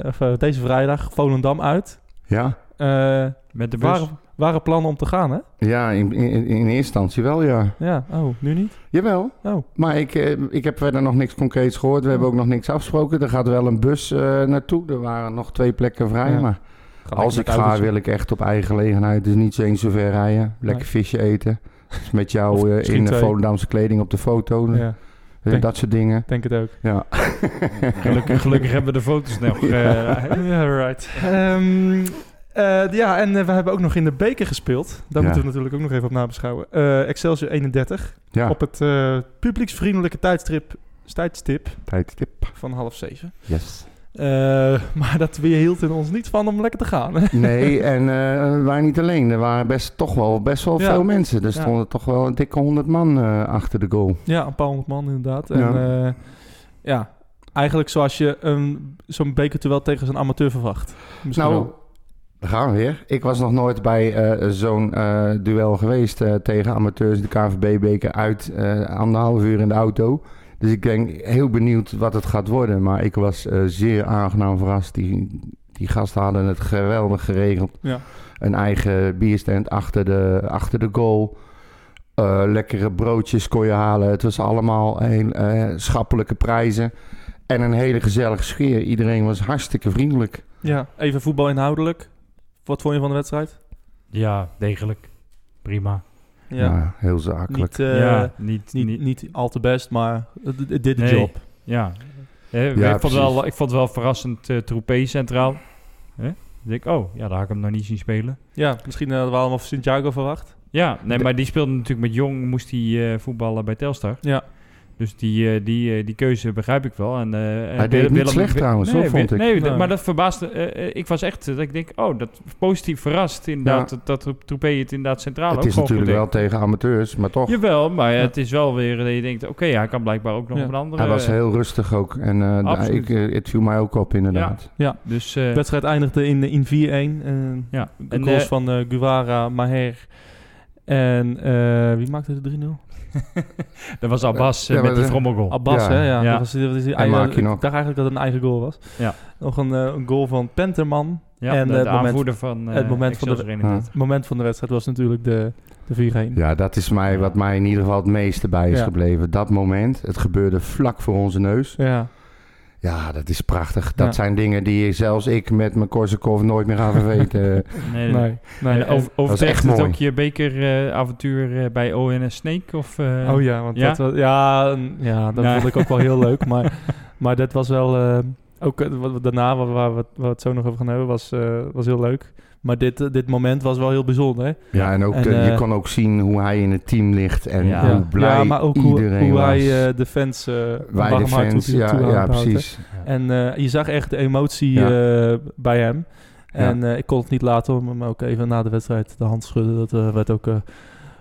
Speaker 5: eh, of, eh, deze vrijdag Volendam uit.
Speaker 6: Ja,
Speaker 5: Eh
Speaker 7: Met de bus.
Speaker 5: waren, waren plannen om te gaan, hè?
Speaker 6: ja in, in, in eerste instantie wel, ja.
Speaker 5: Ja, oh, nu niet?
Speaker 6: Jawel.
Speaker 5: Oh.
Speaker 6: Maar ik, eh, ik heb verder nog niks concreets gehoord. We hebben ook nog niks afgesproken. Er gaat wel een bus eh, naartoe. Er waren nog twee plekken vrij.
Speaker 5: Ja.
Speaker 6: Maar
Speaker 5: Ga
Speaker 6: als ik
Speaker 5: lekker
Speaker 6: ga,
Speaker 5: met auto's.
Speaker 6: wil ik echt op eigen gelegenheid. Dus niet zo eens zo ver rijden. Lekker visje eten. Dus met
Speaker 5: Of
Speaker 6: jou eh,
Speaker 5: misschien
Speaker 6: in de
Speaker 5: twee.
Speaker 6: Volendamse kleding op de foto.
Speaker 5: Ja,
Speaker 6: Eh,
Speaker 5: Denk-
Speaker 6: Dat soort dingen.
Speaker 5: ik denk het ook.
Speaker 6: Ja.
Speaker 7: Gelukkig, gelukkig hebben we de foto's nog. eh,
Speaker 5: Ja, right. Ehm, eh, ja, en eh, we hebben ook nog in de beker gespeeld. Daar
Speaker 6: Ja.
Speaker 5: moeten we natuurlijk ook nog even op nabeschouwen. Eh, Excelsior 31.
Speaker 6: Ja,
Speaker 5: Op het eh, publieksvriendelijke tijdstip, tijdstip
Speaker 6: tijdstip.
Speaker 5: van half zeven.
Speaker 6: Yes.
Speaker 5: Eh, maar dat weerhielden ons niet van om lekker te gaan. hè?
Speaker 6: Nee, en eh, we waren niet alleen. Er waren best, toch wel best wel
Speaker 5: Ja.
Speaker 6: veel mensen. Er
Speaker 5: Ja.
Speaker 6: stonden toch wel een dikke honderd man eh, achter de goal.
Speaker 5: ja, een paar honderd man inderdaad. En
Speaker 6: Ja.
Speaker 5: eh, ja, eigenlijk zoals je een- zo'n bekerduel tegen zo'n amateur verwacht. Misschien
Speaker 6: nou,
Speaker 5: wel.
Speaker 6: daar gaan we weer. Ik was nog nooit bij eh, zo'n eh, duel geweest eh, tegen amateurs. De KVB-beker uit eh, anderhalf uur in de auto. Dus ik ben heel benieuwd wat het gaat worden. Maar ik was eh, zeer aangenaam verrast. Die, die gasten hadden het geweldig geregeld.
Speaker 5: Ja.
Speaker 6: Een eigen bierstand achter de, achter de goal. Eh, lekkere broodjes kon je halen. Het was allemaal heel, eh, schappelijke prijzen. En een hele gezellige sfeer. Iedereen was hartstikke vriendelijk.
Speaker 5: ja, even voetbal inhoudelijk. Wat vond je van de wedstrijd?
Speaker 7: ja, degelijk. Prima.
Speaker 6: Ja, heel zakelijk.
Speaker 5: niet, eh,
Speaker 7: ja, niet, niet,
Speaker 5: niet, niet al te best, maar het, het- het did de
Speaker 7: Nee.
Speaker 5: job.
Speaker 7: Ja. Hè,
Speaker 6: Ja,
Speaker 7: ik, vond
Speaker 6: precies.
Speaker 7: wel, ik vond het wel verrassend eh Troepé centraal. Hè? Dan denk ik, oh, ja, daar had ik hem nog niet zien spelen.
Speaker 5: Ja, misschien eh, hadden we allemaal Santiago verwacht.
Speaker 7: Ja, nee, maar die speelde natuurlijk met Jong, moest hij eh, voetballen bij Telstar.
Speaker 5: Ja.
Speaker 7: Dus die, eh, die, eh, die keuze begrijp ik wel. En, eh, en
Speaker 6: deed het niet slecht trouwens,
Speaker 7: nee,
Speaker 6: hoor, vond
Speaker 7: Wi-
Speaker 6: ik.
Speaker 7: Nee, dat-
Speaker 5: Nee.
Speaker 7: maar dat verbaasde... eh, eh, ik was echt eh, dat ik denk, oh, dat positief verrast inderdaad.
Speaker 6: Ja.
Speaker 7: Dat, dat Troepé het inderdaad centraal ook
Speaker 6: het is
Speaker 7: gewoon
Speaker 6: natuurlijk wel
Speaker 7: goed
Speaker 6: tegen amateurs, maar toch.
Speaker 7: deed. Jawel, maar eh,
Speaker 5: Ja.
Speaker 7: het is wel weer dat je denkt, oké, hij kan blijkbaar ook nog
Speaker 5: Ja.
Speaker 7: op een andere... eh,
Speaker 6: Hij was heel rustig ook. En eh,
Speaker 7: Absoluut.
Speaker 6: ik, eh, het viel mij ook op, inderdaad.
Speaker 7: Dus, eh,
Speaker 5: De wedstrijd eindigde in, eh, in 4-1. en
Speaker 7: ja.
Speaker 5: de
Speaker 7: En,
Speaker 5: goals
Speaker 7: eh,
Speaker 5: van eh Guevara, Maher en eh, wie maakte de 3-0?
Speaker 7: dat was Abbas eh,
Speaker 6: Ja,
Speaker 7: met
Speaker 6: maar
Speaker 7: die
Speaker 6: de-
Speaker 7: trommelgoal.
Speaker 5: Abbas,
Speaker 6: Ja.
Speaker 5: hè? Ja,
Speaker 7: Ja.
Speaker 5: Dat was, dat was die
Speaker 6: En
Speaker 5: eigen-
Speaker 6: Maki nog.
Speaker 5: Ik dacht eigenlijk dat het een eigen goal was.
Speaker 7: Ja.
Speaker 5: Nog een, eh, een goal van Penterman.
Speaker 7: Ja,
Speaker 5: en,
Speaker 7: de,
Speaker 5: eh, het
Speaker 7: de
Speaker 5: moment-
Speaker 7: aanvoerder van eh
Speaker 5: het moment van de-
Speaker 7: Excelsior inderdaad.
Speaker 5: Het moment van de wedstrijd was natuurlijk de, de 4-1.
Speaker 6: Ja, dat is mij, wat mij in ieder geval het meeste bij is
Speaker 5: Ja.
Speaker 6: gebleven. Dat moment, het gebeurde vlak voor onze neus.
Speaker 5: Ja.
Speaker 6: Ja, dat is prachtig. Dat
Speaker 5: Ja.
Speaker 6: zijn dingen die zelfs ik met mijn Korsakoff nooit meer ga vergeten.
Speaker 7: Nee,
Speaker 5: Nee, nee.
Speaker 7: En over, overtreft
Speaker 6: echt
Speaker 7: het
Speaker 6: mooi.
Speaker 7: ook je bekeravontuur eh, bij ONS Snake? Of, eh,
Speaker 5: Oh ja, want
Speaker 7: Ja?
Speaker 5: dat was, ja, n- ja, dat
Speaker 7: Nou.
Speaker 5: vond ik ook wel heel leuk. Maar, maar dat was wel eh, ook eh, wat, wat daarna, waar, waar, we- waar we het zo nog over gaan hebben, was, eh, was heel leuk. Maar dit, eh, dit moment was wel heel bijzonder. Hè?
Speaker 6: ja, en ook
Speaker 5: En,
Speaker 6: eh, je
Speaker 5: eh,
Speaker 6: kon ook zien hoe hij in het team ligt en
Speaker 7: Ja.
Speaker 6: hoe blij
Speaker 5: ja, maar ook hoe,
Speaker 6: iedereen
Speaker 5: hoe
Speaker 6: was.
Speaker 5: hij eh, de fans eh
Speaker 6: Wij de
Speaker 5: warm houdt,
Speaker 6: fans,
Speaker 5: hoe hij
Speaker 6: ja,
Speaker 5: toe
Speaker 6: ja
Speaker 5: aanhoudt, hè.
Speaker 6: precies.
Speaker 5: En eh, je zag echt de emotie eh, bij hem. En eh, ik kon het niet laten om hem ook even na de wedstrijd de hand te schudden. Dat eh, werd ook eh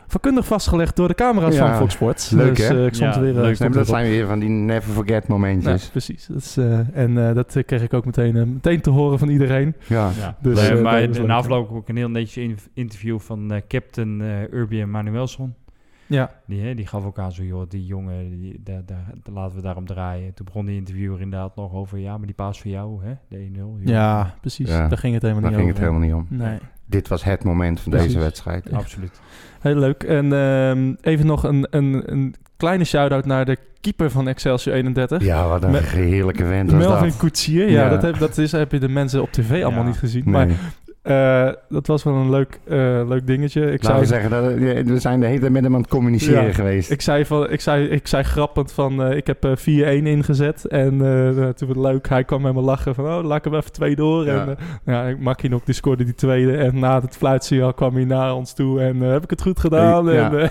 Speaker 5: vakkundig vastgelegd door de camera's
Speaker 6: Ja,
Speaker 5: van Fox Sports.
Speaker 6: leuk,
Speaker 5: dus,
Speaker 6: hè?
Speaker 5: eh, ik stond
Speaker 7: Ja,
Speaker 5: er weer, eh, ik
Speaker 7: leuk.
Speaker 6: Nee,
Speaker 5: stond
Speaker 6: maar
Speaker 5: er
Speaker 6: dat
Speaker 5: weer
Speaker 6: zijn weer van die never forget momentjes.
Speaker 5: Ja, precies. Dat is, eh, en eh, dat eh, kreeg ik ook meteen, eh, meteen te horen van iedereen.
Speaker 6: Ja.
Speaker 7: Ja.
Speaker 5: Dus,
Speaker 7: Nee,
Speaker 5: eh,
Speaker 7: maar
Speaker 5: dat is
Speaker 7: in
Speaker 5: leuk.
Speaker 7: afloop ook een heel netjes in- interview van eh, captain eh Urbi en Manuelson.
Speaker 5: Ja,
Speaker 7: Die, hè, die gaf ook aan zo, joh, die jongen, die, daar, daar, daar laten we daarom draaien. Toen begon die interviewer inderdaad nog over, ja, maar die paas voor jou, hè, de 1-0. joh.
Speaker 5: ja precies.
Speaker 6: Ja.
Speaker 5: Daar ging het helemaal
Speaker 6: Daar
Speaker 5: niet
Speaker 6: ging het
Speaker 5: over.
Speaker 6: helemaal niet om.
Speaker 5: Nee,
Speaker 6: Dit was het moment van
Speaker 5: Precies.
Speaker 6: deze wedstrijd.
Speaker 7: Absoluut.
Speaker 5: heel leuk. En ehm, even nog een, een, een kleine shout-out naar de keeper van Excelsior 31.
Speaker 6: Ja, wat een
Speaker 5: Met-
Speaker 6: heerlijke vent was
Speaker 5: Melvin
Speaker 6: dat.
Speaker 5: Koetsier. Ja,
Speaker 6: Ja.
Speaker 5: Dat, heb, dat is, heb je de mensen op tv allemaal
Speaker 7: Ja.
Speaker 5: niet gezien.
Speaker 6: Nee.
Speaker 5: Maar eh, dat was wel een leuk, eh, leuk dingetje. Ik
Speaker 6: Laten we
Speaker 5: zei,
Speaker 6: zeggen, dat, eh, we zijn de hele tijd met hem aan het communiceren
Speaker 5: Ja.
Speaker 6: geweest.
Speaker 5: Ik zei, van, ik, zei, ik zei grappend van, eh, ik heb eh, 4-1 ingezet. En eh, eh, toen werd het leuk. Hij kwam met me lachen van, oh, laat ik hem even twee door.
Speaker 6: Ja.
Speaker 5: En eh, ja, ik- Makinok, die scoorde die tweede. En na het fluitsignaal kwam hij naar ons toe. En eh, heb ik het goed gedaan?
Speaker 6: Hey, ja.
Speaker 5: En,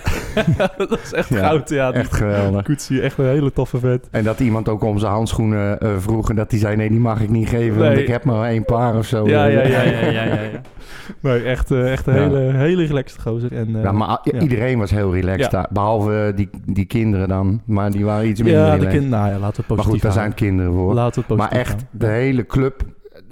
Speaker 5: eh, dat is echt
Speaker 6: Ja,
Speaker 5: goud. Ja, die
Speaker 6: Echt geweldig.
Speaker 5: Koetsie, echt een hele toffe vet.
Speaker 6: En dat iemand ook om zijn handschoenen eh, vroeg en dat hij zei, nee, die mag ik niet geven, want
Speaker 5: Nee.
Speaker 6: ik heb maar één paar of zo. Eh,
Speaker 5: Ja, ja,
Speaker 7: Ja, ja, ja, ja. ja.
Speaker 5: Nee, echt, eh, echt een
Speaker 6: Ja.
Speaker 5: hele, hele relaxte gozer. En, eh,
Speaker 6: Ja, maar a-
Speaker 5: Ja.
Speaker 6: iedereen was heel relaxed
Speaker 5: Ja.
Speaker 6: daar, behalve die, die kinderen dan. Maar die waren iets minder
Speaker 5: ja, de
Speaker 6: relaxed.
Speaker 5: kind, nou ja, laten we het positief
Speaker 6: maar goed, daar zijn
Speaker 5: houden.
Speaker 6: kinderen voor.
Speaker 5: Laten we het
Speaker 6: maar
Speaker 5: positief
Speaker 6: echt,
Speaker 5: houden.
Speaker 6: de hele club,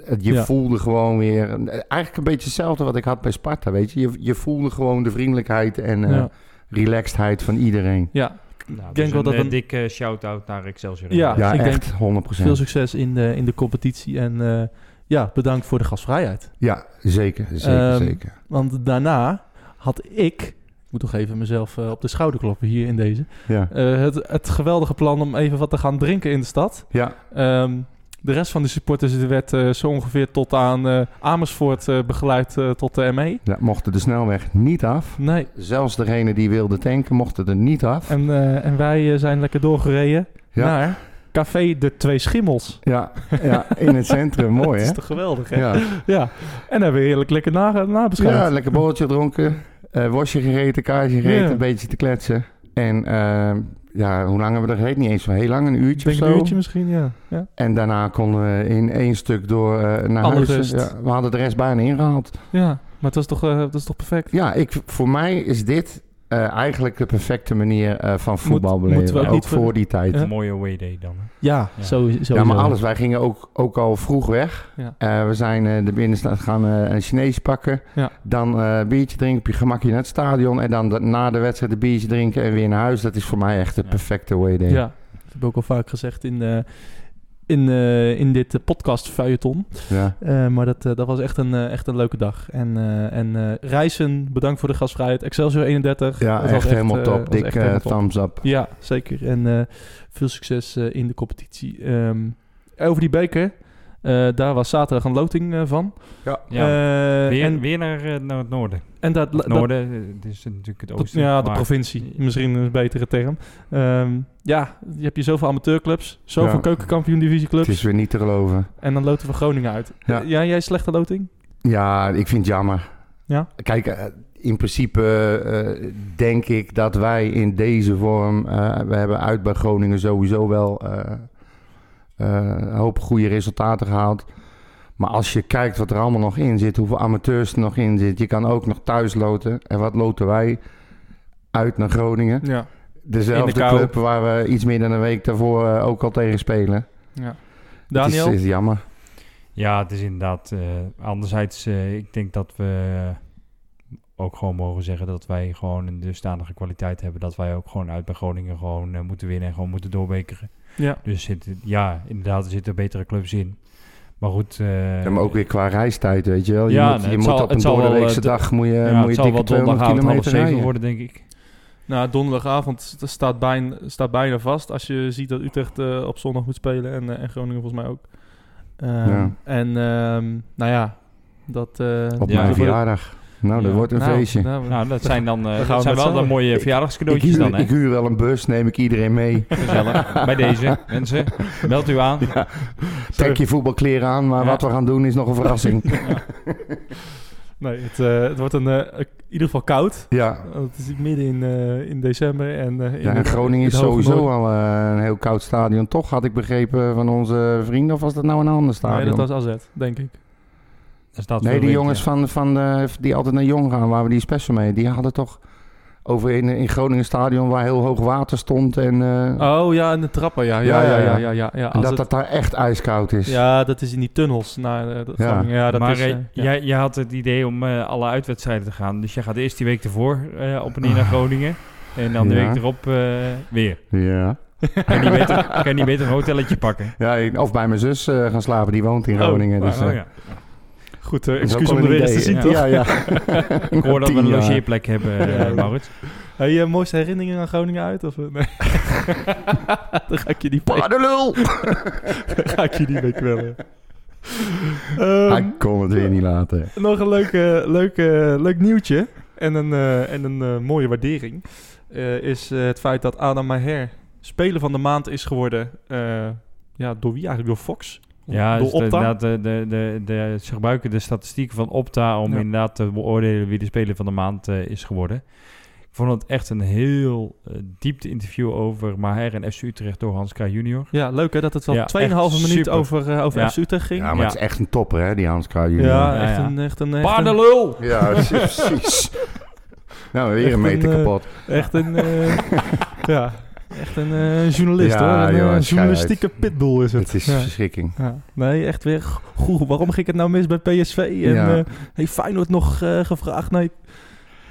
Speaker 6: eh, je
Speaker 5: Ja.
Speaker 6: voelde gewoon weer... Eigenlijk een beetje hetzelfde wat ik had bij Sparta, weet je. Je, je voelde gewoon de vriendelijkheid en eh,
Speaker 5: Ja.
Speaker 6: relaxedheid van iedereen.
Speaker 5: ja,
Speaker 7: Nou,
Speaker 5: Ik denk
Speaker 7: dus
Speaker 5: wel dat
Speaker 7: een eh,
Speaker 5: een-
Speaker 7: dikke shout-out naar Excelsior.
Speaker 5: Ja.
Speaker 6: Ja,
Speaker 5: ik
Speaker 6: echt, 100%.
Speaker 5: veel succes in de, in de competitie. En eh, ja, bedankt voor de gastvrijheid.
Speaker 6: Ja, zeker, zeker,
Speaker 5: Ehm,
Speaker 6: zeker.
Speaker 5: Want daarna had ik, ik moet nog even mezelf eh, op de schouder kloppen hier in deze,
Speaker 6: Ja,
Speaker 5: eh, het, het geweldige plan om even wat te gaan drinken in de stad.
Speaker 6: ja.
Speaker 5: Ehm, de rest van de supporters werd eh, zo ongeveer tot aan eh, Amersfoort eh, begeleid eh, tot de ME.
Speaker 6: ja mochten de snelweg niet af.
Speaker 5: Nee,
Speaker 6: Zelfs degene die wilde tanken mochten er niet af.
Speaker 5: en, eh, en wij eh, zijn lekker doorgereden
Speaker 6: Ja.
Speaker 5: naar Café de Twee Schimmels.
Speaker 6: Ja, ja in het centrum. Mooi,
Speaker 5: Dat is
Speaker 6: hè?
Speaker 5: toch geweldig, hè? Ja.
Speaker 6: Oh, Ja.
Speaker 5: En hebben we heerlijk lekker na, nabeschouwd.
Speaker 6: ja, lekker borreltje dronken. eh wasje gegeten, kaasje gegeten,
Speaker 5: Ja.
Speaker 6: een beetje te kletsen. En ehm, ja, hoe lang hebben we er gegeten? Niet eens zo heel lang, een
Speaker 5: Ik
Speaker 6: uurtje
Speaker 5: denk
Speaker 6: of
Speaker 5: een
Speaker 6: zo.
Speaker 5: uurtje misschien, ja. ja.
Speaker 6: En daarna konden we in één stuk door eh, naar
Speaker 5: Alle
Speaker 6: huis.
Speaker 5: rust.
Speaker 6: Ja, we hadden de rest bijna ingehaald.
Speaker 5: Ja, maar het was toch, eh, dat is toch perfect?
Speaker 6: Ja, ik, voor mij is dit eh, eigenlijk de perfecte manier eh, van voetbal
Speaker 5: moeten we
Speaker 6: beleven.
Speaker 5: ook
Speaker 6: ook
Speaker 5: niet ver-
Speaker 6: voor die tijd.
Speaker 5: Ja.
Speaker 7: Een mooie away day dan. hè.
Speaker 5: Ja,
Speaker 7: Ja.
Speaker 5: zo sowieso.
Speaker 6: Ja, maar alles. Wij gingen ook, ook al vroeg weg.
Speaker 5: Ja.
Speaker 6: Eh, we zijn eh, de binnenstad gaan eh, een Chinees pakken.
Speaker 5: Ja.
Speaker 6: Dan eh, een biertje drinken op je gemakje naar het stadion. En dan de- na de wedstrijd een biertje drinken en weer naar huis. Dat is voor mij echt de
Speaker 7: Ja.
Speaker 6: perfecte way day.
Speaker 5: Ja, dat heb ik ook al vaak gezegd in, eh, in, eh, in dit eh, podcast Feuilleton.
Speaker 6: Ja.
Speaker 5: Eh, maar dat, eh, dat was echt een, eh, echt een leuke dag. En, eh, en eh, Reizen, bedankt voor de gastvrijheid. Excelsior 31.
Speaker 6: Ja,
Speaker 5: dat was
Speaker 6: echt, helemaal
Speaker 5: eh,
Speaker 6: top.
Speaker 5: was
Speaker 6: Dik
Speaker 5: echt
Speaker 6: eh,
Speaker 5: helemaal top.
Speaker 6: thumbs up.
Speaker 5: Ja, zeker. En eh, veel succes eh, in de competitie. Ehm, over die beker. eh, daar was zaterdag een loting eh, van.
Speaker 7: Ja.
Speaker 5: Eh,
Speaker 7: weer,
Speaker 5: en,
Speaker 7: weer naar, eh, naar het noorden.
Speaker 5: en dat,
Speaker 7: Het
Speaker 5: dat-
Speaker 7: noorden, eh, het is natuurlijk het
Speaker 5: Tot-
Speaker 7: oosten.
Speaker 5: ja, de
Speaker 7: maar-
Speaker 5: provincie. Misschien een betere term. Ehm, ja, je hebt hier zoveel amateurclubs, zoveel
Speaker 6: Ja. Het
Speaker 5: keukenkampioen-divisieclubs.
Speaker 6: is weer niet te geloven.
Speaker 5: En dan loten we Groningen uit.
Speaker 6: Ja.
Speaker 5: Ja, jij slechte loting?
Speaker 6: Ja, ik vind het jammer.
Speaker 5: Ja?
Speaker 6: Kijk, eh, in principe eh, denk ik dat wij in deze vorm... eh, we hebben uit bij Groningen sowieso wel eh, eh, een hoop goede resultaten gehaald. Maar als je kijkt wat er allemaal nog in zit, hoeveel amateurs er nog in zit... je kan ook nog thuis loten. En wat loten wij? Uit naar Groningen.
Speaker 5: Ja.
Speaker 6: Dezelfde
Speaker 5: kou.
Speaker 6: club waar we iets meer dan een week daarvoor eh, ook al tegen spelen.
Speaker 5: ja.
Speaker 6: Het
Speaker 5: Daniel?
Speaker 6: is, is jammer.
Speaker 7: Ja, het is inderdaad. eh, anderzijds, eh, ik denk dat we ook gewoon mogen zeggen dat wij gewoon een dusdanige kwaliteit hebben. Dat wij ook gewoon uit bij Groningen gewoon eh, moeten winnen en gewoon moeten doorbekeren.
Speaker 5: ja.
Speaker 7: Dus zit, ja, inderdaad, er zitten betere clubs in. Maar goed. eh,
Speaker 6: Ja, maar ook weer qua reistijd, weet je wel. Je
Speaker 7: Ja,
Speaker 6: moet,
Speaker 7: nee,
Speaker 6: je
Speaker 7: het
Speaker 6: moet
Speaker 7: zal-
Speaker 6: op
Speaker 7: het
Speaker 6: een
Speaker 7: zal wel,
Speaker 6: doordeweekse
Speaker 7: eh,
Speaker 6: dag moet je,
Speaker 7: ja,
Speaker 6: moet
Speaker 7: het
Speaker 6: je
Speaker 7: zal wel
Speaker 6: dikke 200
Speaker 7: donderdagavond half
Speaker 6: kilometer
Speaker 7: zeven
Speaker 6: rijden.
Speaker 7: worden, denk ik.
Speaker 5: Nou, donderdagavond st- staat bijna, staat bijna vast. Als je ziet dat Utrecht eh, op zondag moet spelen en, eh, en Groningen volgens mij ook. Ehm,
Speaker 6: Ja.
Speaker 5: En ehm, nou ja, dat... eh,
Speaker 6: Op
Speaker 7: Ja,
Speaker 6: mijn
Speaker 7: dat-
Speaker 6: verjaardag. Nou, dat
Speaker 7: Ja,
Speaker 6: wordt een
Speaker 5: nou,
Speaker 6: feestje.
Speaker 5: nou,
Speaker 7: Nou, dat zijn dan eh,
Speaker 5: gaan
Speaker 7: dat
Speaker 5: we
Speaker 7: zijn
Speaker 5: met
Speaker 7: wel
Speaker 5: z'n
Speaker 7: de
Speaker 5: allen.
Speaker 7: mooie
Speaker 6: ik,
Speaker 7: verjaardagscadeautjes dan,
Speaker 6: huur,
Speaker 7: hè?
Speaker 6: ik huur wel een bus, neem ik iedereen mee.
Speaker 7: Gezellig. Bij deze, mensen. Meld u aan.
Speaker 6: Trek je voetbalkleren aan, maar
Speaker 7: Ja.
Speaker 6: wat we gaan doen is nog een verrassing.
Speaker 5: nee, het, eh, het wordt een, eh, in ieder geval koud.
Speaker 6: ja.
Speaker 5: Want Het is midden in, eh, in december. En, eh, in
Speaker 6: Ja, en
Speaker 5: het-
Speaker 6: Groningen
Speaker 5: in
Speaker 6: is
Speaker 5: het hoge
Speaker 6: sowieso
Speaker 5: noorden.
Speaker 6: al eh, een heel koud stadion. Toch had ik begrepen van onze vrienden, of was dat nou een ander
Speaker 5: Nee,
Speaker 6: stadion?
Speaker 5: dat was AZ, denk ik.
Speaker 7: Er staat
Speaker 6: Nee,
Speaker 7: veel
Speaker 6: die
Speaker 7: wind,
Speaker 6: jongens
Speaker 7: ja.
Speaker 6: van, van de, die altijd naar Jong gaan, waar we die special mee, die hadden toch over in, in Groningen stadion waar heel hoog water stond en, eh,
Speaker 5: Oh ja, en de trappen. Ja, ja, ja, ja. ja, ja, ja,
Speaker 6: en
Speaker 5: Als
Speaker 6: dat
Speaker 5: het-
Speaker 6: dat daar echt ijskoud is.
Speaker 5: Ja, dat is in die tunnels naar eh, de
Speaker 6: Ja.
Speaker 5: Groningen. Ja, dat
Speaker 7: maar
Speaker 5: is,
Speaker 7: eh,
Speaker 5: eh, ja.
Speaker 7: jij, jij had het idee om eh, alle uitwedstrijden te gaan. Dus jij gaat eerst die week ervoor eh, op en neer naar Groningen. En dan de
Speaker 6: Ah. Ja.
Speaker 7: week erop eh, weer.
Speaker 6: Ja.
Speaker 7: Kan je niet beter, kan je niet beter een hotelletje pakken?
Speaker 6: Ja, ik- of bij mijn zus eh, gaan slapen, die woont in
Speaker 5: Oh,
Speaker 6: Groningen. dus,
Speaker 7: Oh,
Speaker 6: eh,
Speaker 7: ja.
Speaker 5: Goed, eh,
Speaker 6: dat is ook
Speaker 5: excuus
Speaker 6: wel
Speaker 5: om
Speaker 6: een
Speaker 5: de weer eens te
Speaker 6: idee.
Speaker 5: zien,
Speaker 7: ja.
Speaker 5: toch?
Speaker 6: Ja, ja.
Speaker 7: Ik hoor dat we een
Speaker 6: Tien jaar.
Speaker 7: logeerplek hebben, eh,
Speaker 5: Ja.
Speaker 7: Maurits.
Speaker 5: Heb je eh, mooiste herinneringen aan Groningen uit? Of, eh, nee? Dan ga ik je niet mee,
Speaker 6: Paardenlul!
Speaker 5: Ehm. ga ik je niet mee kwellen. Ehm,
Speaker 6: Hij kon het weer niet laten.
Speaker 5: nog een leuk, eh, leuk, eh, leuk nieuwtje en een, eh, en een eh, mooie waardering eh, is eh, het feit dat Adam Maher speler van de maand is geworden. eh, ja, door wie eigenlijk? Door Fox?
Speaker 7: Ja,
Speaker 5: door
Speaker 7: dus de-
Speaker 5: Opta?
Speaker 7: inderdaad, de, de, de, de, ze gebruiken de statistieken van Opta om
Speaker 5: Ja.
Speaker 7: inderdaad te beoordelen wie de speler van de maand eh, is geworden. Ik vond het echt een heel eh, diepte interview over Maher en FC Utrecht door Hans K. junior.
Speaker 5: Ja, leuk hè, dat het al
Speaker 7: Ja,
Speaker 5: 2,5
Speaker 7: echt
Speaker 5: minuut
Speaker 7: super.
Speaker 5: over, eh, over
Speaker 7: Ja.
Speaker 5: FC Utrecht ging.
Speaker 6: Ja,
Speaker 5: Ja,
Speaker 6: maar het is echt een topper, hè, die Hans Kruijjunior.
Speaker 7: Ja,
Speaker 5: echt
Speaker 7: ja.
Speaker 5: een... Echt een, echt een-
Speaker 7: Paardenlul!
Speaker 6: Ja, precies. Nou, weer
Speaker 5: Echt
Speaker 6: een
Speaker 5: een,
Speaker 6: meter
Speaker 5: eh,
Speaker 6: kapot.
Speaker 5: Echt een, eh, ja, echt een eh, journalist
Speaker 6: Ja,
Speaker 5: hoor. Een eh,
Speaker 6: joh, schijt.
Speaker 5: journalistieke pitbull is het.
Speaker 6: Het is
Speaker 5: Ja.
Speaker 6: verschrikking.
Speaker 5: Ja. Nee, echt weer. Goh, waarom ging het nou mis bij PSV? En
Speaker 6: Ja.
Speaker 5: eh, heeft Feyenoord nog eh, gevraagd? Nee,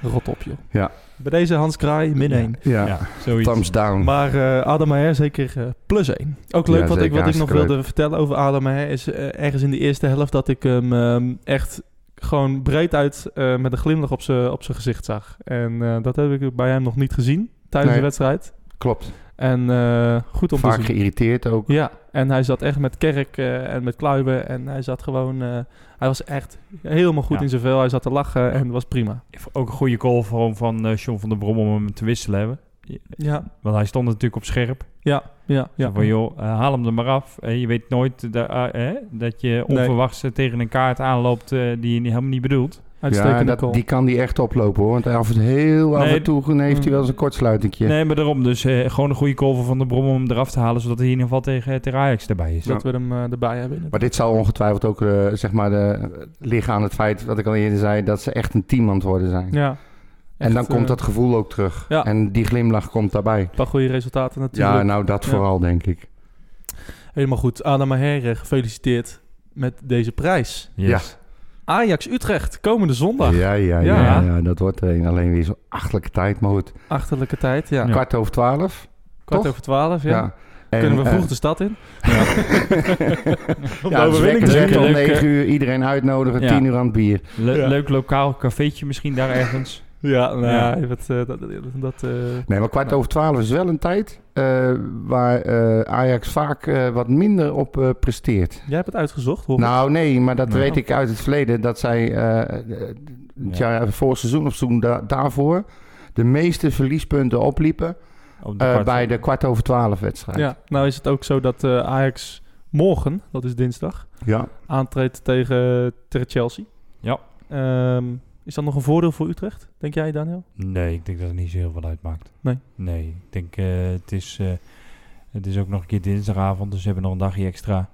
Speaker 5: rot op joh.
Speaker 6: Ja.
Speaker 5: Bij deze Hans Kraai, min 1.
Speaker 6: Ja,
Speaker 7: Ja, zoiets.
Speaker 6: thumbs down.
Speaker 5: Maar eh Adam Maher zeker eh, plus 1. Ook leuk
Speaker 6: Ja,
Speaker 5: wat, ik,
Speaker 6: zeker,
Speaker 5: wat ik nog
Speaker 6: hartstikke
Speaker 5: wilde vertellen over Adam Maher is eh, ergens in de eerste helft dat ik hem ehm, echt gewoon breed uit eh, met een glimlach op zijn op zijn gezicht zag. En eh, dat heb ik bij hem nog niet gezien tijdens
Speaker 6: Nee.
Speaker 5: de wedstrijd.
Speaker 6: Klopt.
Speaker 5: En eh, goed om te
Speaker 6: Vaak
Speaker 5: zien.
Speaker 6: geïrriteerd ook.
Speaker 5: Ja, en hij zat echt met Kerk eh, en met Kluiber. En hij zat gewoon... eh, hij was echt helemaal goed
Speaker 7: Ja.
Speaker 5: in zijn vel. Hij zat te lachen en het was prima.
Speaker 7: Ook een goede call van, van eh, John van der Brom om hem te wisselen hebben.
Speaker 5: Ja,
Speaker 7: Want hij stond natuurlijk op scherp.
Speaker 5: ja, ja.
Speaker 7: Ja.
Speaker 5: ja.
Speaker 7: van joh, eh, haal hem er maar af. Eh, je weet nooit da- ah, eh, dat je onverwachts eh, tegen een kaart aanloopt eh, die je niet- helemaal niet bedoelt.
Speaker 5: Uitstekende
Speaker 6: Ja, dat-
Speaker 5: call.
Speaker 6: die kan die echt oplopen hoor. Want af en heel af
Speaker 7: Nee,
Speaker 6: en toe heeft
Speaker 5: Mm.
Speaker 6: hij wel eens een kortsluitingje.
Speaker 7: Nee, maar daarom. Dus eh, gewoon een goede call van Van de Brom om hem eraf te halen, zodat hij in ieder geval tegen, tegen Ajax erbij is.
Speaker 5: Dus dat we hem eh, erbij hebben.
Speaker 6: Maar dit zal ongetwijfeld ook eh, zeg maar de, liggen aan het feit, wat ik al eerder zei, dat ze echt een team aan het worden zijn.
Speaker 5: Ja.
Speaker 6: en dan
Speaker 5: Echt,
Speaker 6: komt
Speaker 5: eh,
Speaker 6: dat gevoel ook terug.
Speaker 5: ja.
Speaker 6: En die glimlach komt daarbij.
Speaker 5: Een paar goede resultaten natuurlijk.
Speaker 6: Ja, nou dat
Speaker 5: Ja.
Speaker 6: vooral denk ik.
Speaker 5: Helemaal goed. Adam Maher, eh, gefeliciteerd met deze prijs.
Speaker 7: Yes.
Speaker 5: Ajax Utrecht, komende
Speaker 6: Ja,
Speaker 5: zondag.
Speaker 6: ja, ja,
Speaker 5: Ja.
Speaker 6: ja. dat wordt er een. alleen weer zo'n achtelijke tijd. Maar goed,
Speaker 5: Achterlijke tijd, ja.
Speaker 7: Ja.
Speaker 6: kwart over twaalf.
Speaker 5: Kwart
Speaker 6: toch?
Speaker 5: over twaalf, ja.
Speaker 6: En,
Speaker 5: Kunnen we
Speaker 6: eh,
Speaker 5: vroeg de stad in? Om de
Speaker 6: ja, dus
Speaker 5: overwinning
Speaker 6: wekker
Speaker 5: te
Speaker 7: zetten.
Speaker 6: zetten om
Speaker 7: Leuk, eh,
Speaker 6: 9 uur. Iedereen uitnodigen,
Speaker 7: Ja.
Speaker 6: 10 uur aan het bier.
Speaker 7: Le-
Speaker 5: Ja.
Speaker 7: Leuk lokaal cafeetje misschien daar ergens.
Speaker 5: Ja, nou,
Speaker 7: Ja.
Speaker 5: Dat, eh, dat, dat, eh,
Speaker 6: Nee, maar kwart over twaalf is wel een tijd eh, waar eh, Ajax vaak eh, wat minder op eh, presteert.
Speaker 5: jij hebt het uitgezocht, hoor.
Speaker 6: Nou, nee, maar dat
Speaker 7: Nee.
Speaker 6: weet ik uit het verleden. Dat zij eh het jaar, vorig seizoen of seizoen da- daarvoor de meeste verliespunten opliepen
Speaker 7: Op
Speaker 6: eh,
Speaker 7: kwart-
Speaker 6: bij de kwart over twaalf wedstrijd.
Speaker 5: Ja, nou is het ook zo dat eh, Ajax morgen, dat is dinsdag,
Speaker 6: Ja.
Speaker 5: aantreedt tegen, tegen Chelsea.
Speaker 7: Ja.
Speaker 5: Ehm, is dat nog een voordeel voor Utrecht, denk jij, Daniel?
Speaker 7: Nee, ik denk dat het niet zo heel veel uitmaakt.
Speaker 5: Nee?
Speaker 7: Nee, ik denk eh, het, is, eh, het is ook nog een keer dinsdagavond, dus ze hebben nog een dagje extra.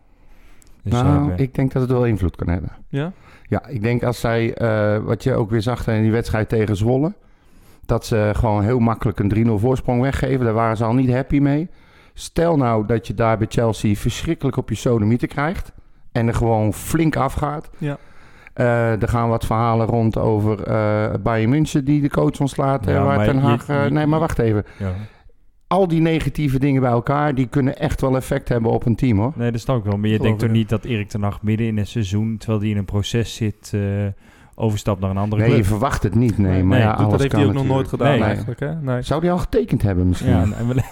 Speaker 7: Dus ze
Speaker 6: nou,
Speaker 7: hebben-
Speaker 6: ik denk dat het wel invloed kan hebben.
Speaker 5: Ja?
Speaker 6: Ja, ik denk als zij, eh, wat je ook weer zag in die wedstrijd tegen Zwolle, dat ze gewoon heel makkelijk een 3-0 voorsprong weggeven. Daar waren ze al niet happy mee. Stel nou dat je daar bij Chelsea verschrikkelijk op je sodomieten krijgt en er gewoon flink afgaat.
Speaker 5: Ja.
Speaker 6: Eh, er gaan wat verhalen rond over eh Bayern München die de coach ontslaat. eh,
Speaker 7: Ja,
Speaker 6: waar
Speaker 7: maar
Speaker 6: Ten
Speaker 7: je-
Speaker 6: Hag, eh,
Speaker 7: je-
Speaker 6: nee, maar wacht even.
Speaker 7: ja.
Speaker 6: Al die negatieve dingen bij elkaar, die kunnen echt wel effect hebben op een team hoor.
Speaker 7: Nee, dat snap ik wel. Maar je
Speaker 5: Geloof
Speaker 7: denkt
Speaker 5: ik
Speaker 7: toch niet dat Erik ten Hag midden in een seizoen, terwijl hij in een proces zit, eh, overstapt naar een andere
Speaker 6: Nee, je
Speaker 7: club.
Speaker 6: verwacht het niet, nee. maar
Speaker 5: Nee,
Speaker 6: ja,
Speaker 5: dat-
Speaker 6: alles
Speaker 5: dat heeft
Speaker 6: kan
Speaker 5: hij ook nog nooit
Speaker 6: natuurlijk.
Speaker 5: gedaan
Speaker 7: Nee.
Speaker 5: eigenlijk. Hè? Nee.
Speaker 6: Zou die al getekend hebben misschien?
Speaker 7: Ja, en- en we-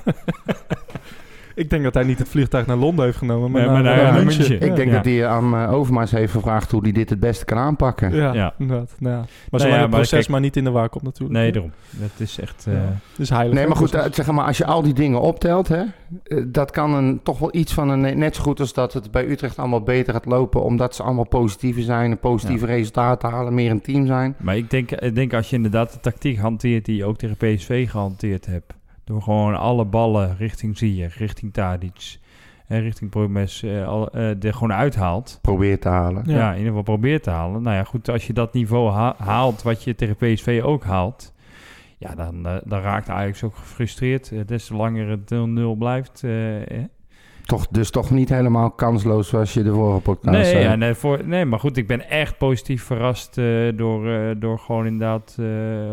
Speaker 5: Ik denk dat hij niet het vliegtuig naar Londen heeft genomen, maar,
Speaker 7: Nee,
Speaker 5: naar,
Speaker 7: maar naar-
Speaker 5: naar
Speaker 7: naar
Speaker 5: München.
Speaker 7: München.
Speaker 5: Ja.
Speaker 6: Ik denk
Speaker 7: Ja.
Speaker 6: dat hij aan eh, Overmars heeft gevraagd hoe hij dit het beste kan aanpakken.
Speaker 5: Ja,
Speaker 7: Ja.
Speaker 5: inderdaad. Nou ja. Maar
Speaker 7: ja,
Speaker 5: zolang
Speaker 7: maar
Speaker 5: het proces
Speaker 7: kijk-
Speaker 5: maar niet in de war komt natuurlijk.
Speaker 7: nee,
Speaker 5: hè.
Speaker 7: daarom. Dat is echt... eh,
Speaker 5: Ja. Dus heilig.
Speaker 6: Nee,
Speaker 5: hè,
Speaker 6: maar goed,
Speaker 5: proces.
Speaker 6: eh, zeg maar, als je al die dingen optelt, hè, eh, dat kan een, toch wel iets van een, eh, net zo goed als dat het bij Utrecht allemaal beter gaat lopen, omdat ze allemaal positiever zijn, een positieve resultaten halen, meer een team zijn.
Speaker 7: Maar ik denk, ik denk als je inderdaad de tactiek hanteert die je ook tegen PSV gehanteerd hebt. Door gewoon alle ballen richting Zier, richting Tadic, en richting Promes eh, al- eh, er gewoon uithaalt.
Speaker 6: Probeer te halen.
Speaker 5: Ja.
Speaker 7: Ja. in ieder geval probeert te halen. Nou ja, goed, als je dat niveau ha- haalt wat je tegen PSV ook haalt... Ja, dan, eh, dan raakt Ajax ook gefrustreerd. Eh, des te langer het 0-0 blijft. eh, eh.
Speaker 6: Toch, dus toch niet helemaal kansloos zoals je de vorige podcast
Speaker 7: nee,
Speaker 6: zei.
Speaker 7: ja, nee, voor, nee, maar goed, ik ben echt positief verrast eh, door, eh, door gewoon inderdaad eh,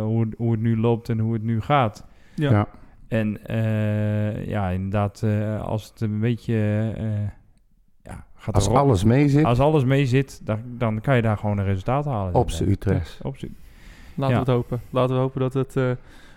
Speaker 7: hoe, het- hoe het nu loopt en hoe het nu gaat.
Speaker 5: Ja.
Speaker 6: Ja.
Speaker 7: En eh, ja, inderdaad, eh, als het een beetje eh, ja, gaat
Speaker 6: Als
Speaker 7: erop-
Speaker 6: alles mee zit,
Speaker 7: als alles mee zit, dan, dan kan je daar gewoon een resultaat halen.
Speaker 6: op z'n Utrecht.
Speaker 7: Op z'n-
Speaker 6: eh,
Speaker 5: Laten
Speaker 7: Ja.
Speaker 5: we het hopen. Laten we hopen dat het eh,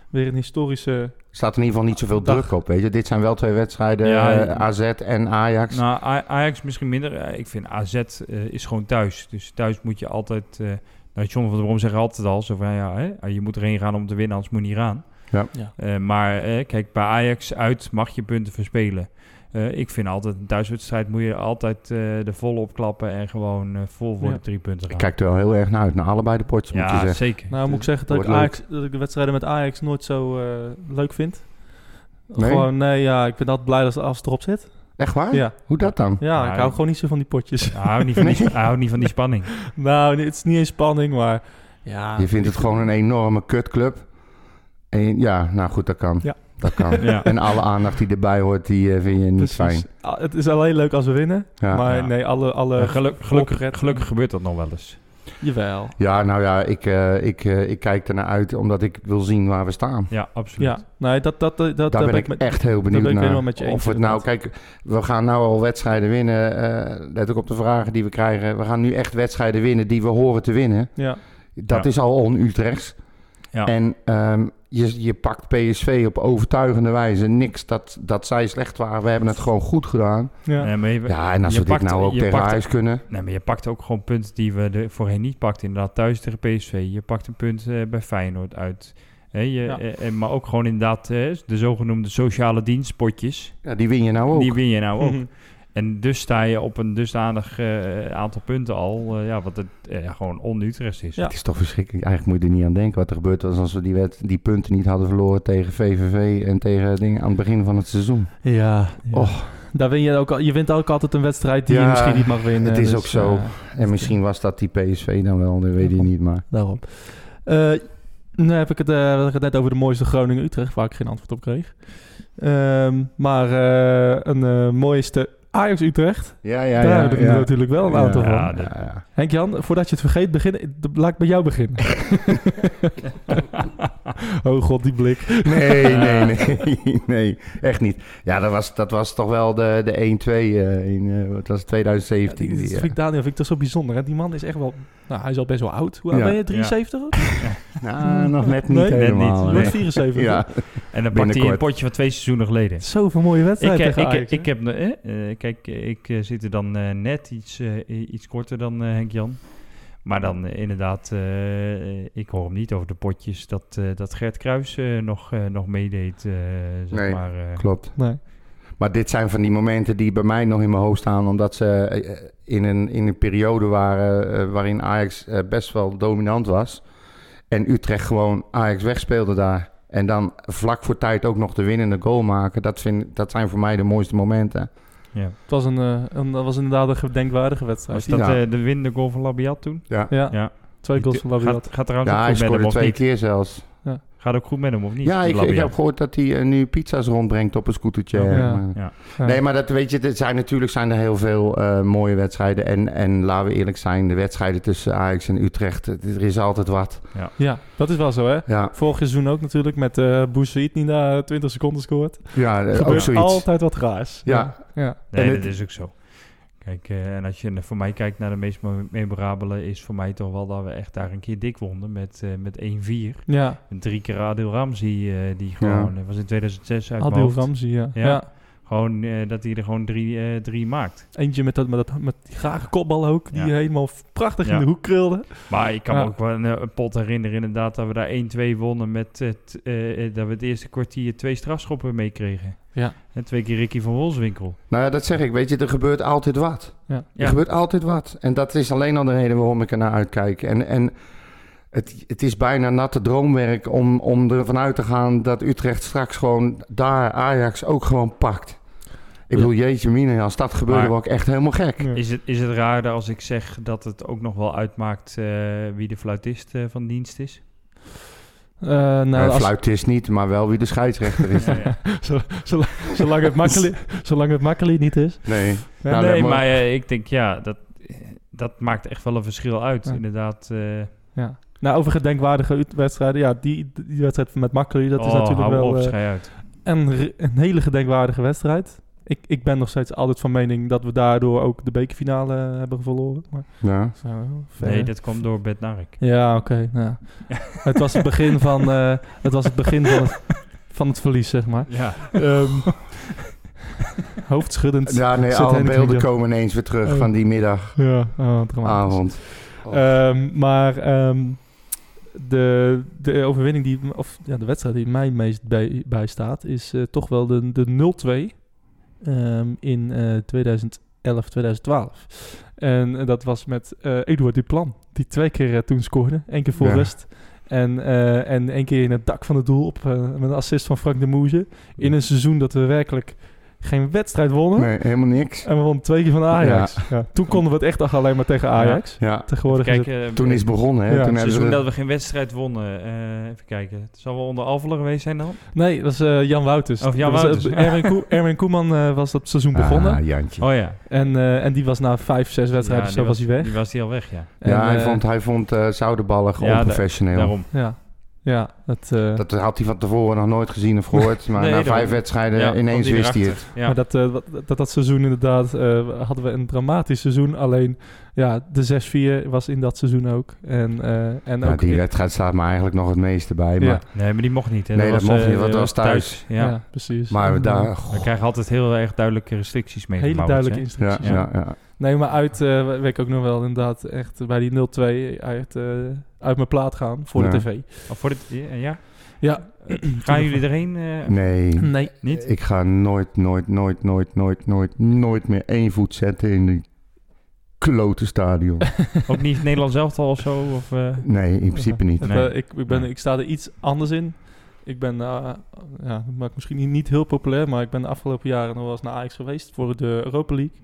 Speaker 5: weer een historische...
Speaker 6: Staat in ieder geval niet zoveel
Speaker 5: Dag.
Speaker 6: druk op, weet je. Dit zijn wel twee wedstrijden,
Speaker 7: Ja,
Speaker 6: eh, AZ en Ajax.
Speaker 7: Nou, A- Ajax misschien minder. Eh, Ik vind AZ eh, is gewoon thuis. Dus thuis moet je altijd... eh nou, John van der Brom zegt altijd al zo van... Ja, hè, ah, je moet erheen gaan om te winnen, anders moet je niet gaan.
Speaker 6: Ja.
Speaker 2: Ja.
Speaker 7: Eh, maar eh, kijk, bij Ajax uit mag je punten verspelen. Eh, ik vind altijd een thuiswedstrijd moet je altijd eh de volle opklappen... en gewoon eh, vol voor
Speaker 5: Ja.
Speaker 7: de drie punten
Speaker 6: ik
Speaker 7: gaan.
Speaker 6: kijk er wel heel erg naar uit, naar allebei de potjes, moet je
Speaker 7: ja,
Speaker 6: zeggen.
Speaker 7: zeker.
Speaker 5: Nou moet ik zeggen dat ik,
Speaker 6: wordt leuk.
Speaker 5: Ajax, dat ik de wedstrijden met Ajax nooit zo eh, leuk vind.
Speaker 6: Nee? Ah.
Speaker 5: Gewoon, nee, ja, ik ben altijd blij als, als het erop zit.
Speaker 6: Echt waar?
Speaker 5: Ja,
Speaker 6: Hoe dat dan?
Speaker 5: ja
Speaker 7: Ja,
Speaker 5: ik hou
Speaker 7: ik-
Speaker 5: gewoon niet zo van die potjes.
Speaker 7: Hij houdt niet van die, sp- hij houdt niet van die spanning.
Speaker 5: nou, nee, het is niet eens spanning, maar... Ja,
Speaker 6: Je vindt het gewoon een enorme kutclub. En ja, nou goed, dat kan.
Speaker 5: Ja.
Speaker 6: Dat kan.
Speaker 7: Ja.
Speaker 6: En alle aandacht die erbij hoort, die eh, vind je niet
Speaker 5: precies.
Speaker 6: fijn.
Speaker 5: Ah, Het is alleen leuk als we winnen.
Speaker 6: Ja.
Speaker 5: maar
Speaker 7: Ja.
Speaker 5: nee, alle... alle
Speaker 7: Eh, geluk- gelukkig,
Speaker 5: opret-
Speaker 7: gelukkig gebeurt dat nog wel eens.
Speaker 5: Jawel.
Speaker 6: Ja, nou ja, ik, eh, ik, eh, ik kijk ernaar uit omdat ik wil zien waar we staan.
Speaker 7: Ja, absoluut.
Speaker 5: Ja, nee, dat, dat, dat, dat
Speaker 6: Daar ben ik
Speaker 5: met-
Speaker 6: echt heel
Speaker 5: ben ik
Speaker 6: benieuwd naar.
Speaker 5: helemaal met je eens,
Speaker 6: of het nou,
Speaker 5: inderdaad.
Speaker 6: kijk, we gaan nou al wedstrijden winnen. eh let ook op de vragen die we krijgen. We gaan nu echt wedstrijden winnen die we horen te winnen.
Speaker 5: Ja,
Speaker 6: Dat
Speaker 7: Ja.
Speaker 6: is al on-Utrechts.
Speaker 7: Ja.
Speaker 6: En ehm, je, je pakt PSV op overtuigende wijze. Niks dat, dat zij slecht waren. We hebben het gewoon goed gedaan.
Speaker 5: ja.
Speaker 7: Nee, Eh, maar je-
Speaker 6: Ja, en als
Speaker 7: je
Speaker 6: we dit
Speaker 7: pakt-
Speaker 6: nou ook
Speaker 7: je
Speaker 6: tegen
Speaker 7: pakt-
Speaker 6: huis kunnen.
Speaker 7: Nee, maar je pakt ook gewoon punten die we er voorheen niet pakten. Inderdaad, thuis tegen PSV. Je pakt een punt eh, bij Feyenoord uit. Hè, je,
Speaker 5: Ja.
Speaker 7: eh, eh, maar ook gewoon inderdaad eh, de zogenoemde sociale dienstpotjes.
Speaker 6: Ja, die win je nou ook.
Speaker 7: Die win je nou ook.
Speaker 5: Mhm.
Speaker 7: En dus sta je op een dusdanig eh, aantal punten al. eh, ja, wat het eh, gewoon on-Utrecht is.
Speaker 5: Ja.
Speaker 6: Het is toch verschrikkelijk. Eigenlijk moet je er niet aan denken wat er gebeurd was als we die, wed- die punten niet hadden verloren tegen VVV en tegen dingen aan het begin van het seizoen.
Speaker 5: Ja,
Speaker 6: Och.
Speaker 5: Daar win je, ook al, je wint ook altijd een wedstrijd die je
Speaker 6: Ja,
Speaker 5: misschien niet mag winnen.
Speaker 6: het is
Speaker 5: dus,
Speaker 6: ook zo.
Speaker 5: eh,
Speaker 6: En misschien was dat die PSV dan wel, dat weet je niet. Maar
Speaker 5: daarom. Eh nu heb ik het, eh, had ik het net over de mooiste Groningen-Utrecht, waar ik geen antwoord op kreeg. Ehm, maar eh, een eh, mooiste Ajax-Utrecht,
Speaker 6: ja, ja,
Speaker 5: daar
Speaker 6: ja.
Speaker 5: heb ik
Speaker 6: ja.
Speaker 5: natuurlijk wel een aantal
Speaker 7: Ja,
Speaker 5: van.
Speaker 7: dat-
Speaker 6: ja.
Speaker 5: Henk-Jan, voordat je het vergeet, begin, d- laat ik bij jou beginnen. oh god, die blik.
Speaker 6: Nee, nee, nee, nee, echt niet. Ja, dat was, dat was toch wel de, de 1-2 eh, in eh, wat was het, 2017.
Speaker 5: dat
Speaker 6: die,
Speaker 5: vind
Speaker 6: eh,
Speaker 5: ik Daniel vind ik toch zo bijzonder. Hè? Die man is echt wel... Nou, hij is al best wel oud. Hoe oud
Speaker 6: Ja.
Speaker 5: ben je? 73?
Speaker 6: nou, nog net niet
Speaker 5: Nee, net
Speaker 6: helemaal.
Speaker 5: Je
Speaker 7: niet.
Speaker 5: wordt
Speaker 6: nee.
Speaker 5: 74.
Speaker 6: Ja,
Speaker 7: En dan pakt hij een
Speaker 6: Binnenkort.
Speaker 7: potje van twee seizoenen geleden.
Speaker 5: Zoveel mooie
Speaker 7: Ik,
Speaker 5: wedstrijden
Speaker 7: eh,
Speaker 5: tegen
Speaker 7: ik,
Speaker 5: Ajax.
Speaker 7: ik, heb, eh, eh, kijk, eh, ik eh, zit er dan eh, net iets, eh, i- iets korter dan eh, Henk-Jan. Maar dan eh, inderdaad, eh, eh, ik hoor hem niet over de potjes dat, eh, dat Gert Kruis eh, nog, eh, nog meedeed. eh, zeg
Speaker 6: Nee,
Speaker 7: maar, eh.
Speaker 6: klopt.
Speaker 5: nee.
Speaker 6: Maar dit zijn van die momenten die bij mij nog in mijn hoofd staan, omdat ze eh, in een, in een periode waren eh, waarin Ajax eh, best wel dominant was. En Utrecht gewoon Ajax wegspeelde daar. En dan vlak voor tijd ook nog de winnende goal maken. Dat, vind, dat zijn voor mij de mooiste momenten.
Speaker 7: ja.
Speaker 5: Het was, een, eh, een, dat was inderdaad een gedenkwaardige wedstrijd.
Speaker 7: Was dat
Speaker 6: Ja.
Speaker 7: eh, de winnende goal van Labiat toen?
Speaker 6: Ja,
Speaker 5: Ja,
Speaker 7: Ja.
Speaker 5: twee goals van Labiat.
Speaker 7: Gaat, gaat trouwens
Speaker 6: ja
Speaker 7: ook
Speaker 6: hij
Speaker 7: goed met
Speaker 6: scoorde
Speaker 7: hem of
Speaker 6: twee
Speaker 7: niet?
Speaker 6: keer zelfs.
Speaker 7: Gaat ook goed met hem of niet?
Speaker 6: Ja, ik, ik
Speaker 7: Labiat?
Speaker 6: heb gehoord dat hij eh, nu pizza's rondbrengt op een scootertje.
Speaker 5: Oh, Ja.
Speaker 6: Maar-
Speaker 5: Ja.
Speaker 6: Nee, maar dat weet je, er zijn, natuurlijk zijn er heel veel eh, mooie wedstrijden. En, en laten we eerlijk zijn, de wedstrijden tussen Ajax en Utrecht, het- er is altijd wat.
Speaker 5: ja, dat is wel zo, hè?
Speaker 6: Ja,
Speaker 5: Vorig seizoen ook natuurlijk met eh Boussaïd die na 20 seconden scoort.
Speaker 6: ja eh,
Speaker 5: Er
Speaker 6: ook
Speaker 5: gebeurt
Speaker 6: zoiets.
Speaker 5: altijd wat raars.
Speaker 6: Ja.
Speaker 5: ja.
Speaker 7: Nee,
Speaker 6: En
Speaker 7: dat
Speaker 6: het-
Speaker 7: is ook zo. Kijk, eh, en als je naar- voor mij kijkt naar de meest me- memorabele, is voor mij toch wel dat we echt daar een keer dik wonnen met, eh, met 1-4.
Speaker 5: Ja,
Speaker 7: En Drie keer Adil Ramzi, eh, die gewoon, eh, was in 2006 uit mijn
Speaker 5: Adil
Speaker 7: hoofd.
Speaker 5: Ramzi, ja.
Speaker 7: Ja.
Speaker 5: ja.
Speaker 7: Gewoon eh, dat hij er gewoon drie, eh, drie maakt.
Speaker 5: Eentje met, dat, met, dat, met die grage kopbal ook, die
Speaker 7: Ja.
Speaker 5: helemaal f- prachtig
Speaker 7: Ja.
Speaker 5: in de hoek krulde.
Speaker 7: Maar ik kan me
Speaker 5: Ja.
Speaker 7: ook wel een, eh, een pot herinneren inderdaad dat we daar 1-2 wonnen met het, eh, eh, dat we het eerste kwartier twee strafschoppen meekregen.
Speaker 5: Ja.
Speaker 7: En twee keer Ricky van Wolfswinkel.
Speaker 6: Nou ja, dat zeg ik. Weet je, er gebeurt altijd wat.
Speaker 5: Ja.
Speaker 7: Ja.
Speaker 6: Er gebeurt altijd wat. En dat is alleen al de reden waarom ik ernaar uitkijk. En, en het, het is bijna natte droomwerk om, om ervan uit te gaan dat Utrecht straks gewoon daar Ajax ook gewoon pakt. Ik bedoel, jeetje mina, als dat gebeurde,
Speaker 7: Maar-
Speaker 6: word ik echt helemaal gek.
Speaker 5: Ja.
Speaker 7: Is het, is het raar dat als ik zeg dat het ook nog wel uitmaakt eh, wie de fluitist eh, van dienst is?
Speaker 5: Eh, nou,
Speaker 6: Eh,
Speaker 5: als-
Speaker 6: fluitist niet, maar wel wie de scheidsrechter is.
Speaker 7: Ja, ja.
Speaker 5: zolang, het makkeli, zolang het makkeli niet is.
Speaker 6: Nee.
Speaker 5: Ja,
Speaker 6: Nou,
Speaker 7: nee,
Speaker 6: dat-
Speaker 7: maar eh, ik denk ja, dat, dat maakt echt wel een verschil uit.
Speaker 5: Ja.
Speaker 7: Inderdaad. eh,
Speaker 5: Ja. Nou, over gedenkwaardige Ut- wedstrijden. Ja, die, die wedstrijd met Makkeli, dat is
Speaker 7: oh,
Speaker 5: natuurlijk
Speaker 7: hou
Speaker 5: wel
Speaker 7: op,
Speaker 5: eh,
Speaker 7: schei uit.
Speaker 5: een, re- een hele gedenkwaardige wedstrijd. Ik, ik ben nog steeds altijd van mening dat we daardoor ook de bekerfinale eh, hebben verloren. Maar,
Speaker 6: Ja.
Speaker 5: zo, ver.
Speaker 7: Nee, dat kwam door Bert Nark.
Speaker 5: Ja, oké. nou ja. het was het begin van, eh, het, was het, begin van, het, van het verlies, zeg maar.
Speaker 7: Ja.
Speaker 5: Ehm, hoofdschuddend.
Speaker 6: Ja, nee,
Speaker 5: Zit
Speaker 6: alle
Speaker 5: Henk niet
Speaker 6: beelden
Speaker 5: op.
Speaker 6: komen ineens weer terug
Speaker 5: Oh.
Speaker 6: van die middagavond.
Speaker 5: Ja, oh, dramatisch.
Speaker 6: Oh.
Speaker 5: Ehm, maar ehm, de, de overwinning die, of ja, de wedstrijd die mij het meest bij, bijstaat, is eh, toch wel de, de 0-2 ehm, in eh 2011, 2012. En eh, dat was met eh Eduard Duplan, die twee keer eh, toen scoorde. één keer voor
Speaker 6: Ja.
Speaker 5: rust. En, eh en één keer in het dak van het doel op eh, met een assist van Frank de Moeze. In een seizoen dat we werkelijk geen wedstrijd wonnen.
Speaker 6: Nee, helemaal niks.
Speaker 5: En we wonnen twee keer van Ajax. Ja. Toen konden we het echt alleen maar tegen Ajax.
Speaker 6: Ja.
Speaker 5: Tegenwoordig is
Speaker 7: Kijk,
Speaker 5: het-
Speaker 7: eh,
Speaker 6: Toen is het begonnen, hè?
Speaker 5: Ja.
Speaker 6: Toen
Speaker 7: het
Speaker 6: hebben ze...
Speaker 7: seizoen dat we geen wedstrijd wonnen. eh, even kijken. Het zal wel onder Alvelen geweest zijn dan?
Speaker 5: Nee, dat is eh, Jan Wouters.
Speaker 7: Of Oh, Jan
Speaker 5: Dat was, eh,
Speaker 7: Wouters.
Speaker 5: Erwin, Koe- Erwin Koeman eh, was dat seizoen begonnen.
Speaker 6: Ah, Jantje.
Speaker 7: Oh ja.
Speaker 5: en, eh, en die was na vijf, zes wedstrijden of
Speaker 7: Ja,
Speaker 5: zo
Speaker 7: die
Speaker 5: was hij weg.
Speaker 7: Die was die al weg, ja.
Speaker 5: En,
Speaker 6: ja, hij
Speaker 5: eh,
Speaker 6: vond, hij vond eh Zoudenballig
Speaker 7: Ja, da-
Speaker 6: onprofessioneel.
Speaker 7: Daarom.
Speaker 5: Ja, ja dat, eh,
Speaker 6: Dat had hij van tevoren nog nooit gezien of gehoord. Maar
Speaker 7: Nee,
Speaker 6: na
Speaker 7: daarom.
Speaker 6: vijf wedstrijden
Speaker 7: ja,
Speaker 6: eh, ineens
Speaker 7: kwam die
Speaker 6: wist hij het.
Speaker 7: erachter. Ja.
Speaker 5: Maar dat, eh, wat- dat, dat seizoen inderdaad, eh, hadden we een dramatisch seizoen. Alleen, ja, de 6-4 was in dat seizoen ook. En, eh,
Speaker 7: Nou,
Speaker 5: en
Speaker 6: Ja,
Speaker 5: ook
Speaker 6: die wedstrijd staat me eigenlijk nog het meeste bij. Maar,
Speaker 5: Ja.
Speaker 7: Nee, maar die mocht niet. Hè.
Speaker 6: Nee, dat
Speaker 7: was,
Speaker 6: mocht
Speaker 7: eh,
Speaker 6: niet, want dat was thuis.
Speaker 5: ja.
Speaker 7: Ja.
Speaker 5: precies.
Speaker 6: maar we
Speaker 5: En, eh,
Speaker 6: daar...
Speaker 7: We
Speaker 6: goh,
Speaker 7: krijgen altijd heel erg duidelijke restricties mee.
Speaker 5: Hele
Speaker 7: gebouwd,
Speaker 5: duidelijke
Speaker 7: hè.
Speaker 6: ja,
Speaker 5: instructies.
Speaker 6: ja, ja, ja.
Speaker 5: Nee, maar uit eh, weet ik ook nog wel inderdaad echt bij die 0-2 uit, eh, uit mijn plaat gaan voor
Speaker 6: Ja.
Speaker 5: de tv.
Speaker 7: Of Oh, voor dit, ja, ja.
Speaker 5: Ja.
Speaker 7: Gaan jullie erheen? eh,
Speaker 6: Nee.
Speaker 5: Nee.
Speaker 7: Niet?
Speaker 6: Ik ga nooit, nooit, nooit, nooit, nooit, nooit, nooit meer één voet zetten in die klote stadion.
Speaker 7: Ook niet Nederland zelf al of zo? Of, eh,
Speaker 6: Nee, in principe niet.
Speaker 5: Het,
Speaker 7: Nee.
Speaker 5: eh, ik, ik, ben,
Speaker 7: Nee.
Speaker 5: ik sta er iets anders in. Ik ben, eh, ja, dat maakt misschien niet, niet heel populair, maar ik ben de afgelopen jaren nog wel eens naar Ajax geweest voor de Europa League.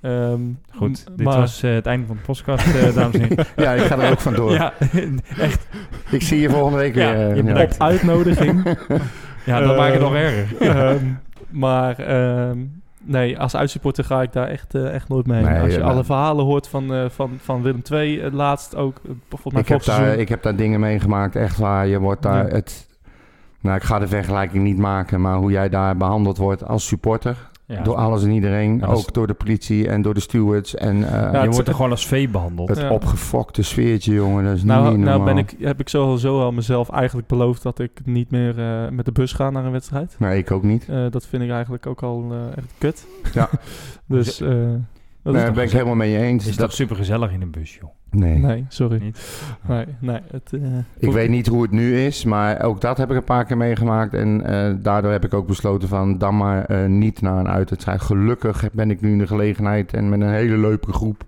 Speaker 5: Ehm,
Speaker 7: Goed,
Speaker 5: m-
Speaker 7: dit
Speaker 5: maar-
Speaker 7: was eh, het einde van de podcast, eh, dames en heren.
Speaker 6: Ja, ik ga er ook van door.
Speaker 7: Ja, echt.
Speaker 6: Ik zie je volgende week
Speaker 7: Ja,
Speaker 6: weer. eh,
Speaker 7: je
Speaker 6: ja.
Speaker 7: bedankt.
Speaker 5: op uitnodiging.
Speaker 7: Ja, dat
Speaker 5: Eh,
Speaker 7: maakt het nog erger.
Speaker 5: Ehm, maar ehm, nee, als uitsupporter ga ik daar echt, eh, echt nooit mee.
Speaker 6: Nee,
Speaker 5: als je
Speaker 6: ja,
Speaker 5: alle
Speaker 6: nou.
Speaker 5: verhalen hoort van, eh, van, van Willem II, eh, laatst ook, eh, volgens mij
Speaker 6: Ik heb,
Speaker 5: vorig
Speaker 6: daar,
Speaker 5: seizoen.
Speaker 6: ik heb daar dingen meegemaakt, echt waar. Je wordt daar
Speaker 5: Ja.
Speaker 6: het. Nou, ik ga de vergelijking niet maken, maar hoe jij daar behandeld wordt als supporter.
Speaker 7: Ja.
Speaker 6: door alles en iedereen.
Speaker 7: Ja, dat is-
Speaker 6: ook door de politie en door de stewards. En eh,
Speaker 5: Ja,
Speaker 7: je
Speaker 5: het-
Speaker 7: wordt er gewoon als vee behandeld.
Speaker 6: het
Speaker 5: ja.
Speaker 6: opgefokte sfeertje, jongen. Dat is
Speaker 5: Nou,
Speaker 6: niet normaal.
Speaker 5: nou ben ik, heb ik sowieso al mezelf eigenlijk beloofd dat ik niet meer eh, met de bus ga naar een wedstrijd.
Speaker 6: Nee, ik ook niet.
Speaker 5: Eh, dat vind ik eigenlijk ook al eh, echt kut.
Speaker 6: Ja.
Speaker 5: dus. eh, dat
Speaker 6: Nee,
Speaker 5: is
Speaker 6: daar
Speaker 5: toch-
Speaker 6: ben ik helemaal mee eens.
Speaker 7: Het is
Speaker 6: dat,
Speaker 7: toch super gezellig in een bus, joh.
Speaker 6: nee.
Speaker 5: nee, sorry.
Speaker 7: Niet?
Speaker 5: Nee, nee, het, eh,
Speaker 6: Ik weet niet hoe het nu is, maar ook dat heb ik een paar keer meegemaakt. En eh, daardoor heb ik ook besloten van dan maar eh, niet naar een uitwedstrijd. Gelukkig ben ik nu in de gelegenheid en met een hele leuke groep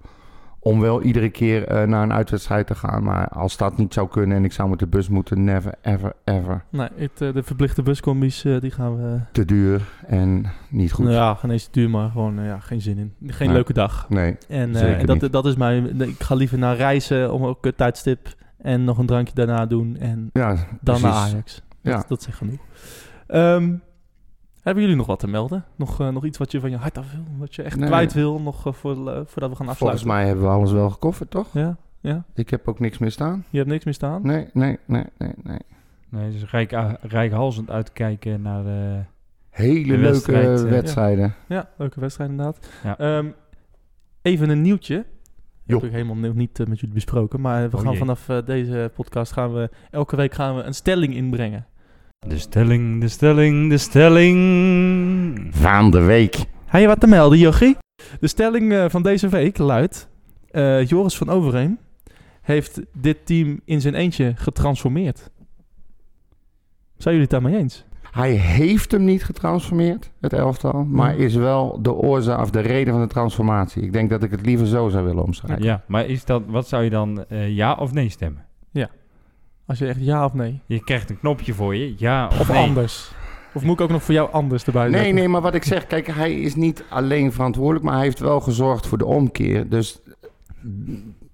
Speaker 6: om wel iedere keer eh, naar een uitwedstrijd te gaan. Maar als dat niet zou kunnen en ik zou met de bus moeten, never, ever, ever.
Speaker 5: nee, het, eh, de verplichte buscombi's, eh, die gaan we...
Speaker 6: Te duur en niet goed.
Speaker 5: Nou ja, geen eens duur, maar gewoon eh, ja, geen zin in. Geen
Speaker 6: Nee.
Speaker 5: leuke dag.
Speaker 6: Nee,
Speaker 5: En, eh,
Speaker 6: Zeker
Speaker 5: en dat,
Speaker 6: niet.
Speaker 5: dat is mijn... Ik ga liever naar reizen om een kut tijdstip en nog een drankje daarna doen en
Speaker 6: ja,
Speaker 5: dan naar
Speaker 6: precies.
Speaker 5: Ajax.
Speaker 6: Ja.
Speaker 5: Dat, dat zegt genoeg. Ehm, hebben jullie nog wat te melden? Nog, eh, nog iets wat je van je hart af wil? Wat je echt
Speaker 6: Nee.
Speaker 5: kwijt wil nog eh, voor, eh, voordat we gaan
Speaker 6: Volgens
Speaker 5: afsluiten?
Speaker 6: mij hebben we alles wel gecoverd, toch?
Speaker 5: Ja? Ja?
Speaker 6: Ik heb ook niks meer staan.
Speaker 5: Je hebt niks meer staan?
Speaker 6: Nee, nee, nee, nee, nee.
Speaker 7: Nee, dus rijk, rijkhalsend uitkijken naar de...
Speaker 6: Hele
Speaker 7: De
Speaker 6: leuke
Speaker 7: wedstrijd, eh,
Speaker 6: wedstrijden.
Speaker 5: Ja, leuke wedstrijd inderdaad.
Speaker 7: Ja.
Speaker 5: Ehm, Even een nieuwtje. Ik
Speaker 6: Jo.
Speaker 5: heb natuurlijk helemaal ni- niet eh, met jullie besproken. Maar we
Speaker 7: Oh
Speaker 5: gaan
Speaker 7: jee.
Speaker 5: vanaf eh, deze podcast gaan we elke week gaan we een stelling inbrengen.
Speaker 7: De stelling, de stelling, de stelling.
Speaker 6: Van de week.
Speaker 5: Heb je wat te melden, Jochie? De stelling eh, van deze week luidt... eh, Joris van Overheem heeft dit team in zijn eentje getransformeerd. Zijn jullie het daarmee eens?
Speaker 6: Hij heeft hem niet getransformeerd, het elftal. Maar is wel de oorzaak of de reden van de transformatie. Ik denk dat ik het liever zo zou willen omschrijven.
Speaker 7: Ja, maar is dat, wat zou je dan eh, ja of nee stemmen?
Speaker 5: Als je echt ja of nee?
Speaker 7: Je krijgt een knopje voor je, ja of,
Speaker 5: Of
Speaker 7: nee.
Speaker 5: anders? Of moet ik ook nog voor jou anders erbij
Speaker 6: Nee,
Speaker 5: zetten?
Speaker 6: nee, maar wat ik zeg, kijk, hij is niet alleen verantwoordelijk, maar hij heeft wel gezorgd voor de omkeer. Dus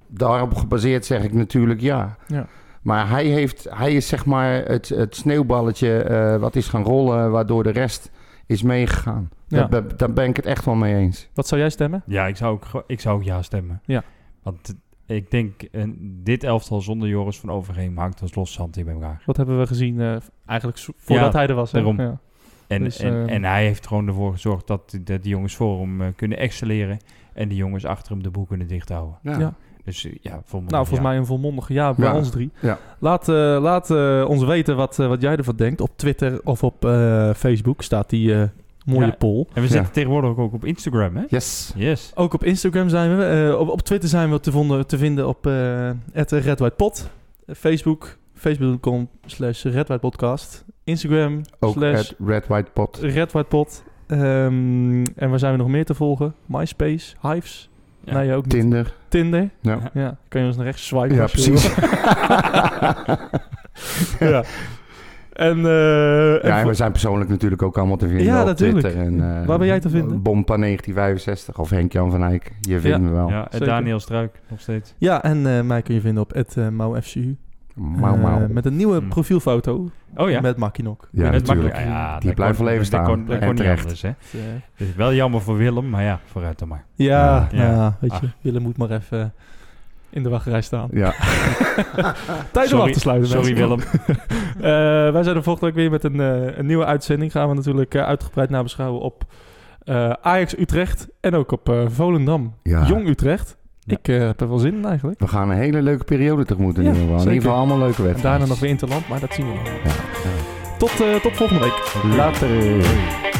Speaker 6: daarop gebaseerd zeg ik natuurlijk ja.
Speaker 5: Ja.
Speaker 6: Maar hij, heeft, hij is zeg maar het, het sneeuwballetje eh, wat is gaan rollen, waardoor de rest is meegegaan.
Speaker 5: Ja.
Speaker 6: Daar, ben- daar ben ik het echt wel mee eens.
Speaker 5: Wat zou jij stemmen?
Speaker 7: Ja, ik zou ook, ge- ik zou ook ja stemmen.
Speaker 5: Ja.
Speaker 7: Want eh, ik denk, eh, dit elftal zonder Joris van Overheem hangt als los zand in bij elkaar.
Speaker 5: Wat hebben we gezien eh, eigenlijk zo- voordat hij er was? hè?
Speaker 7: daarom.
Speaker 5: Ja.
Speaker 7: En,
Speaker 5: Dus,
Speaker 7: en,
Speaker 5: eh,
Speaker 7: en hij heeft gewoon ervoor gezorgd dat, dat die jongens voor hem eh, kunnen excelleren. En die jongens achter hem de boel kunnen dicht houden.
Speaker 5: Ja.
Speaker 7: Dus eh, ja, volgens
Speaker 5: Nou, volgens
Speaker 7: ja.
Speaker 5: mij een volmondige ja bij
Speaker 6: Ja.
Speaker 5: ons drie.
Speaker 6: Ja.
Speaker 5: Laat, eh, laat eh, ons weten wat, eh, wat jij ervan denkt. Op Twitter of op eh, Facebook staat die eh, mooie
Speaker 7: Ja.
Speaker 5: poll.
Speaker 7: En we zitten
Speaker 6: Ja.
Speaker 7: tegenwoordig ook op Instagram, hè?
Speaker 6: Yes.
Speaker 7: Yes.
Speaker 5: Ook op Instagram zijn we. eh, op, op Twitter zijn we te, vonden, te vinden op eh @redwhitepod. Facebook, facebook.com slash redwhitepodcast. Instagram
Speaker 6: Ook
Speaker 5: slash Eh,
Speaker 6: het Red White Pot.
Speaker 5: redwhitepod. Ehm, en waar zijn we nog meer te volgen? MySpace, Hives.
Speaker 7: Ja.
Speaker 6: Nou
Speaker 5: Nee, ook niet.
Speaker 6: Tinder.
Speaker 5: Tinder.
Speaker 6: Ja.
Speaker 5: Ja, kan je ons naar rechts swipen.
Speaker 6: Ja,
Speaker 5: als je wil.
Speaker 6: precies.
Speaker 5: ja. En, eh, en
Speaker 6: Ja, en
Speaker 5: voor-
Speaker 6: we zijn persoonlijk natuurlijk ook allemaal te vinden
Speaker 5: Ja,
Speaker 6: op
Speaker 5: natuurlijk.
Speaker 6: Twitter. En, eh,
Speaker 5: Waar ben jij te vinden?
Speaker 6: Bompa 1965 of Henk-Jan van Eyck. Je vindt
Speaker 5: Ja.
Speaker 6: me wel.
Speaker 7: Ja, en
Speaker 5: zeker.
Speaker 7: Daniel Struik nog steeds.
Speaker 5: ja, en eh, mij kun je vinden op het eh, MauFCU.
Speaker 6: Mau, mau.
Speaker 5: Eh, met een nieuwe
Speaker 7: Hmm.
Speaker 5: profielfoto
Speaker 7: Oh ja.
Speaker 5: met Makinok.
Speaker 6: ja,
Speaker 7: Dat is
Speaker 6: natuurlijk.
Speaker 7: makkelijk. Ja,
Speaker 6: Die
Speaker 7: dat
Speaker 6: blijven
Speaker 7: kon-
Speaker 6: leven
Speaker 7: dat
Speaker 6: staan.
Speaker 7: kon- dat
Speaker 6: En
Speaker 7: kon niet
Speaker 6: terecht.
Speaker 7: anders, hè?
Speaker 5: Eh,
Speaker 7: Dus wel jammer voor Willem, maar ja, vooruit dan maar.
Speaker 5: ja,
Speaker 7: Ja. Ah.
Speaker 5: nou, weet je,
Speaker 7: Ach.
Speaker 5: Willem moet maar even in de wachtrij staan.
Speaker 6: Ja.
Speaker 5: Tijd om af te sluiten.
Speaker 7: Sorry
Speaker 5: mensen.
Speaker 7: Willem.
Speaker 5: Eh, wij zijn er volgende week weer met een, eh, een nieuwe uitzending. Gaan we natuurlijk eh, uitgebreid nabeschouwen op eh, Ajax Utrecht en ook op eh, Volendam.
Speaker 6: Ja.
Speaker 5: Jong Utrecht.
Speaker 7: Ja.
Speaker 5: Ik eh, heb er wel zin in eigenlijk.
Speaker 6: We gaan een hele leuke periode tegemoet in
Speaker 5: Ja,
Speaker 6: ieder geval. In
Speaker 5: zeker.
Speaker 6: ieder geval allemaal leuke
Speaker 5: En
Speaker 6: wedstrijden.
Speaker 5: daarna nog weer Interland, maar dat zien we wel.
Speaker 6: Ja, ja.
Speaker 5: Tot, eh, tot volgende week.
Speaker 6: Later.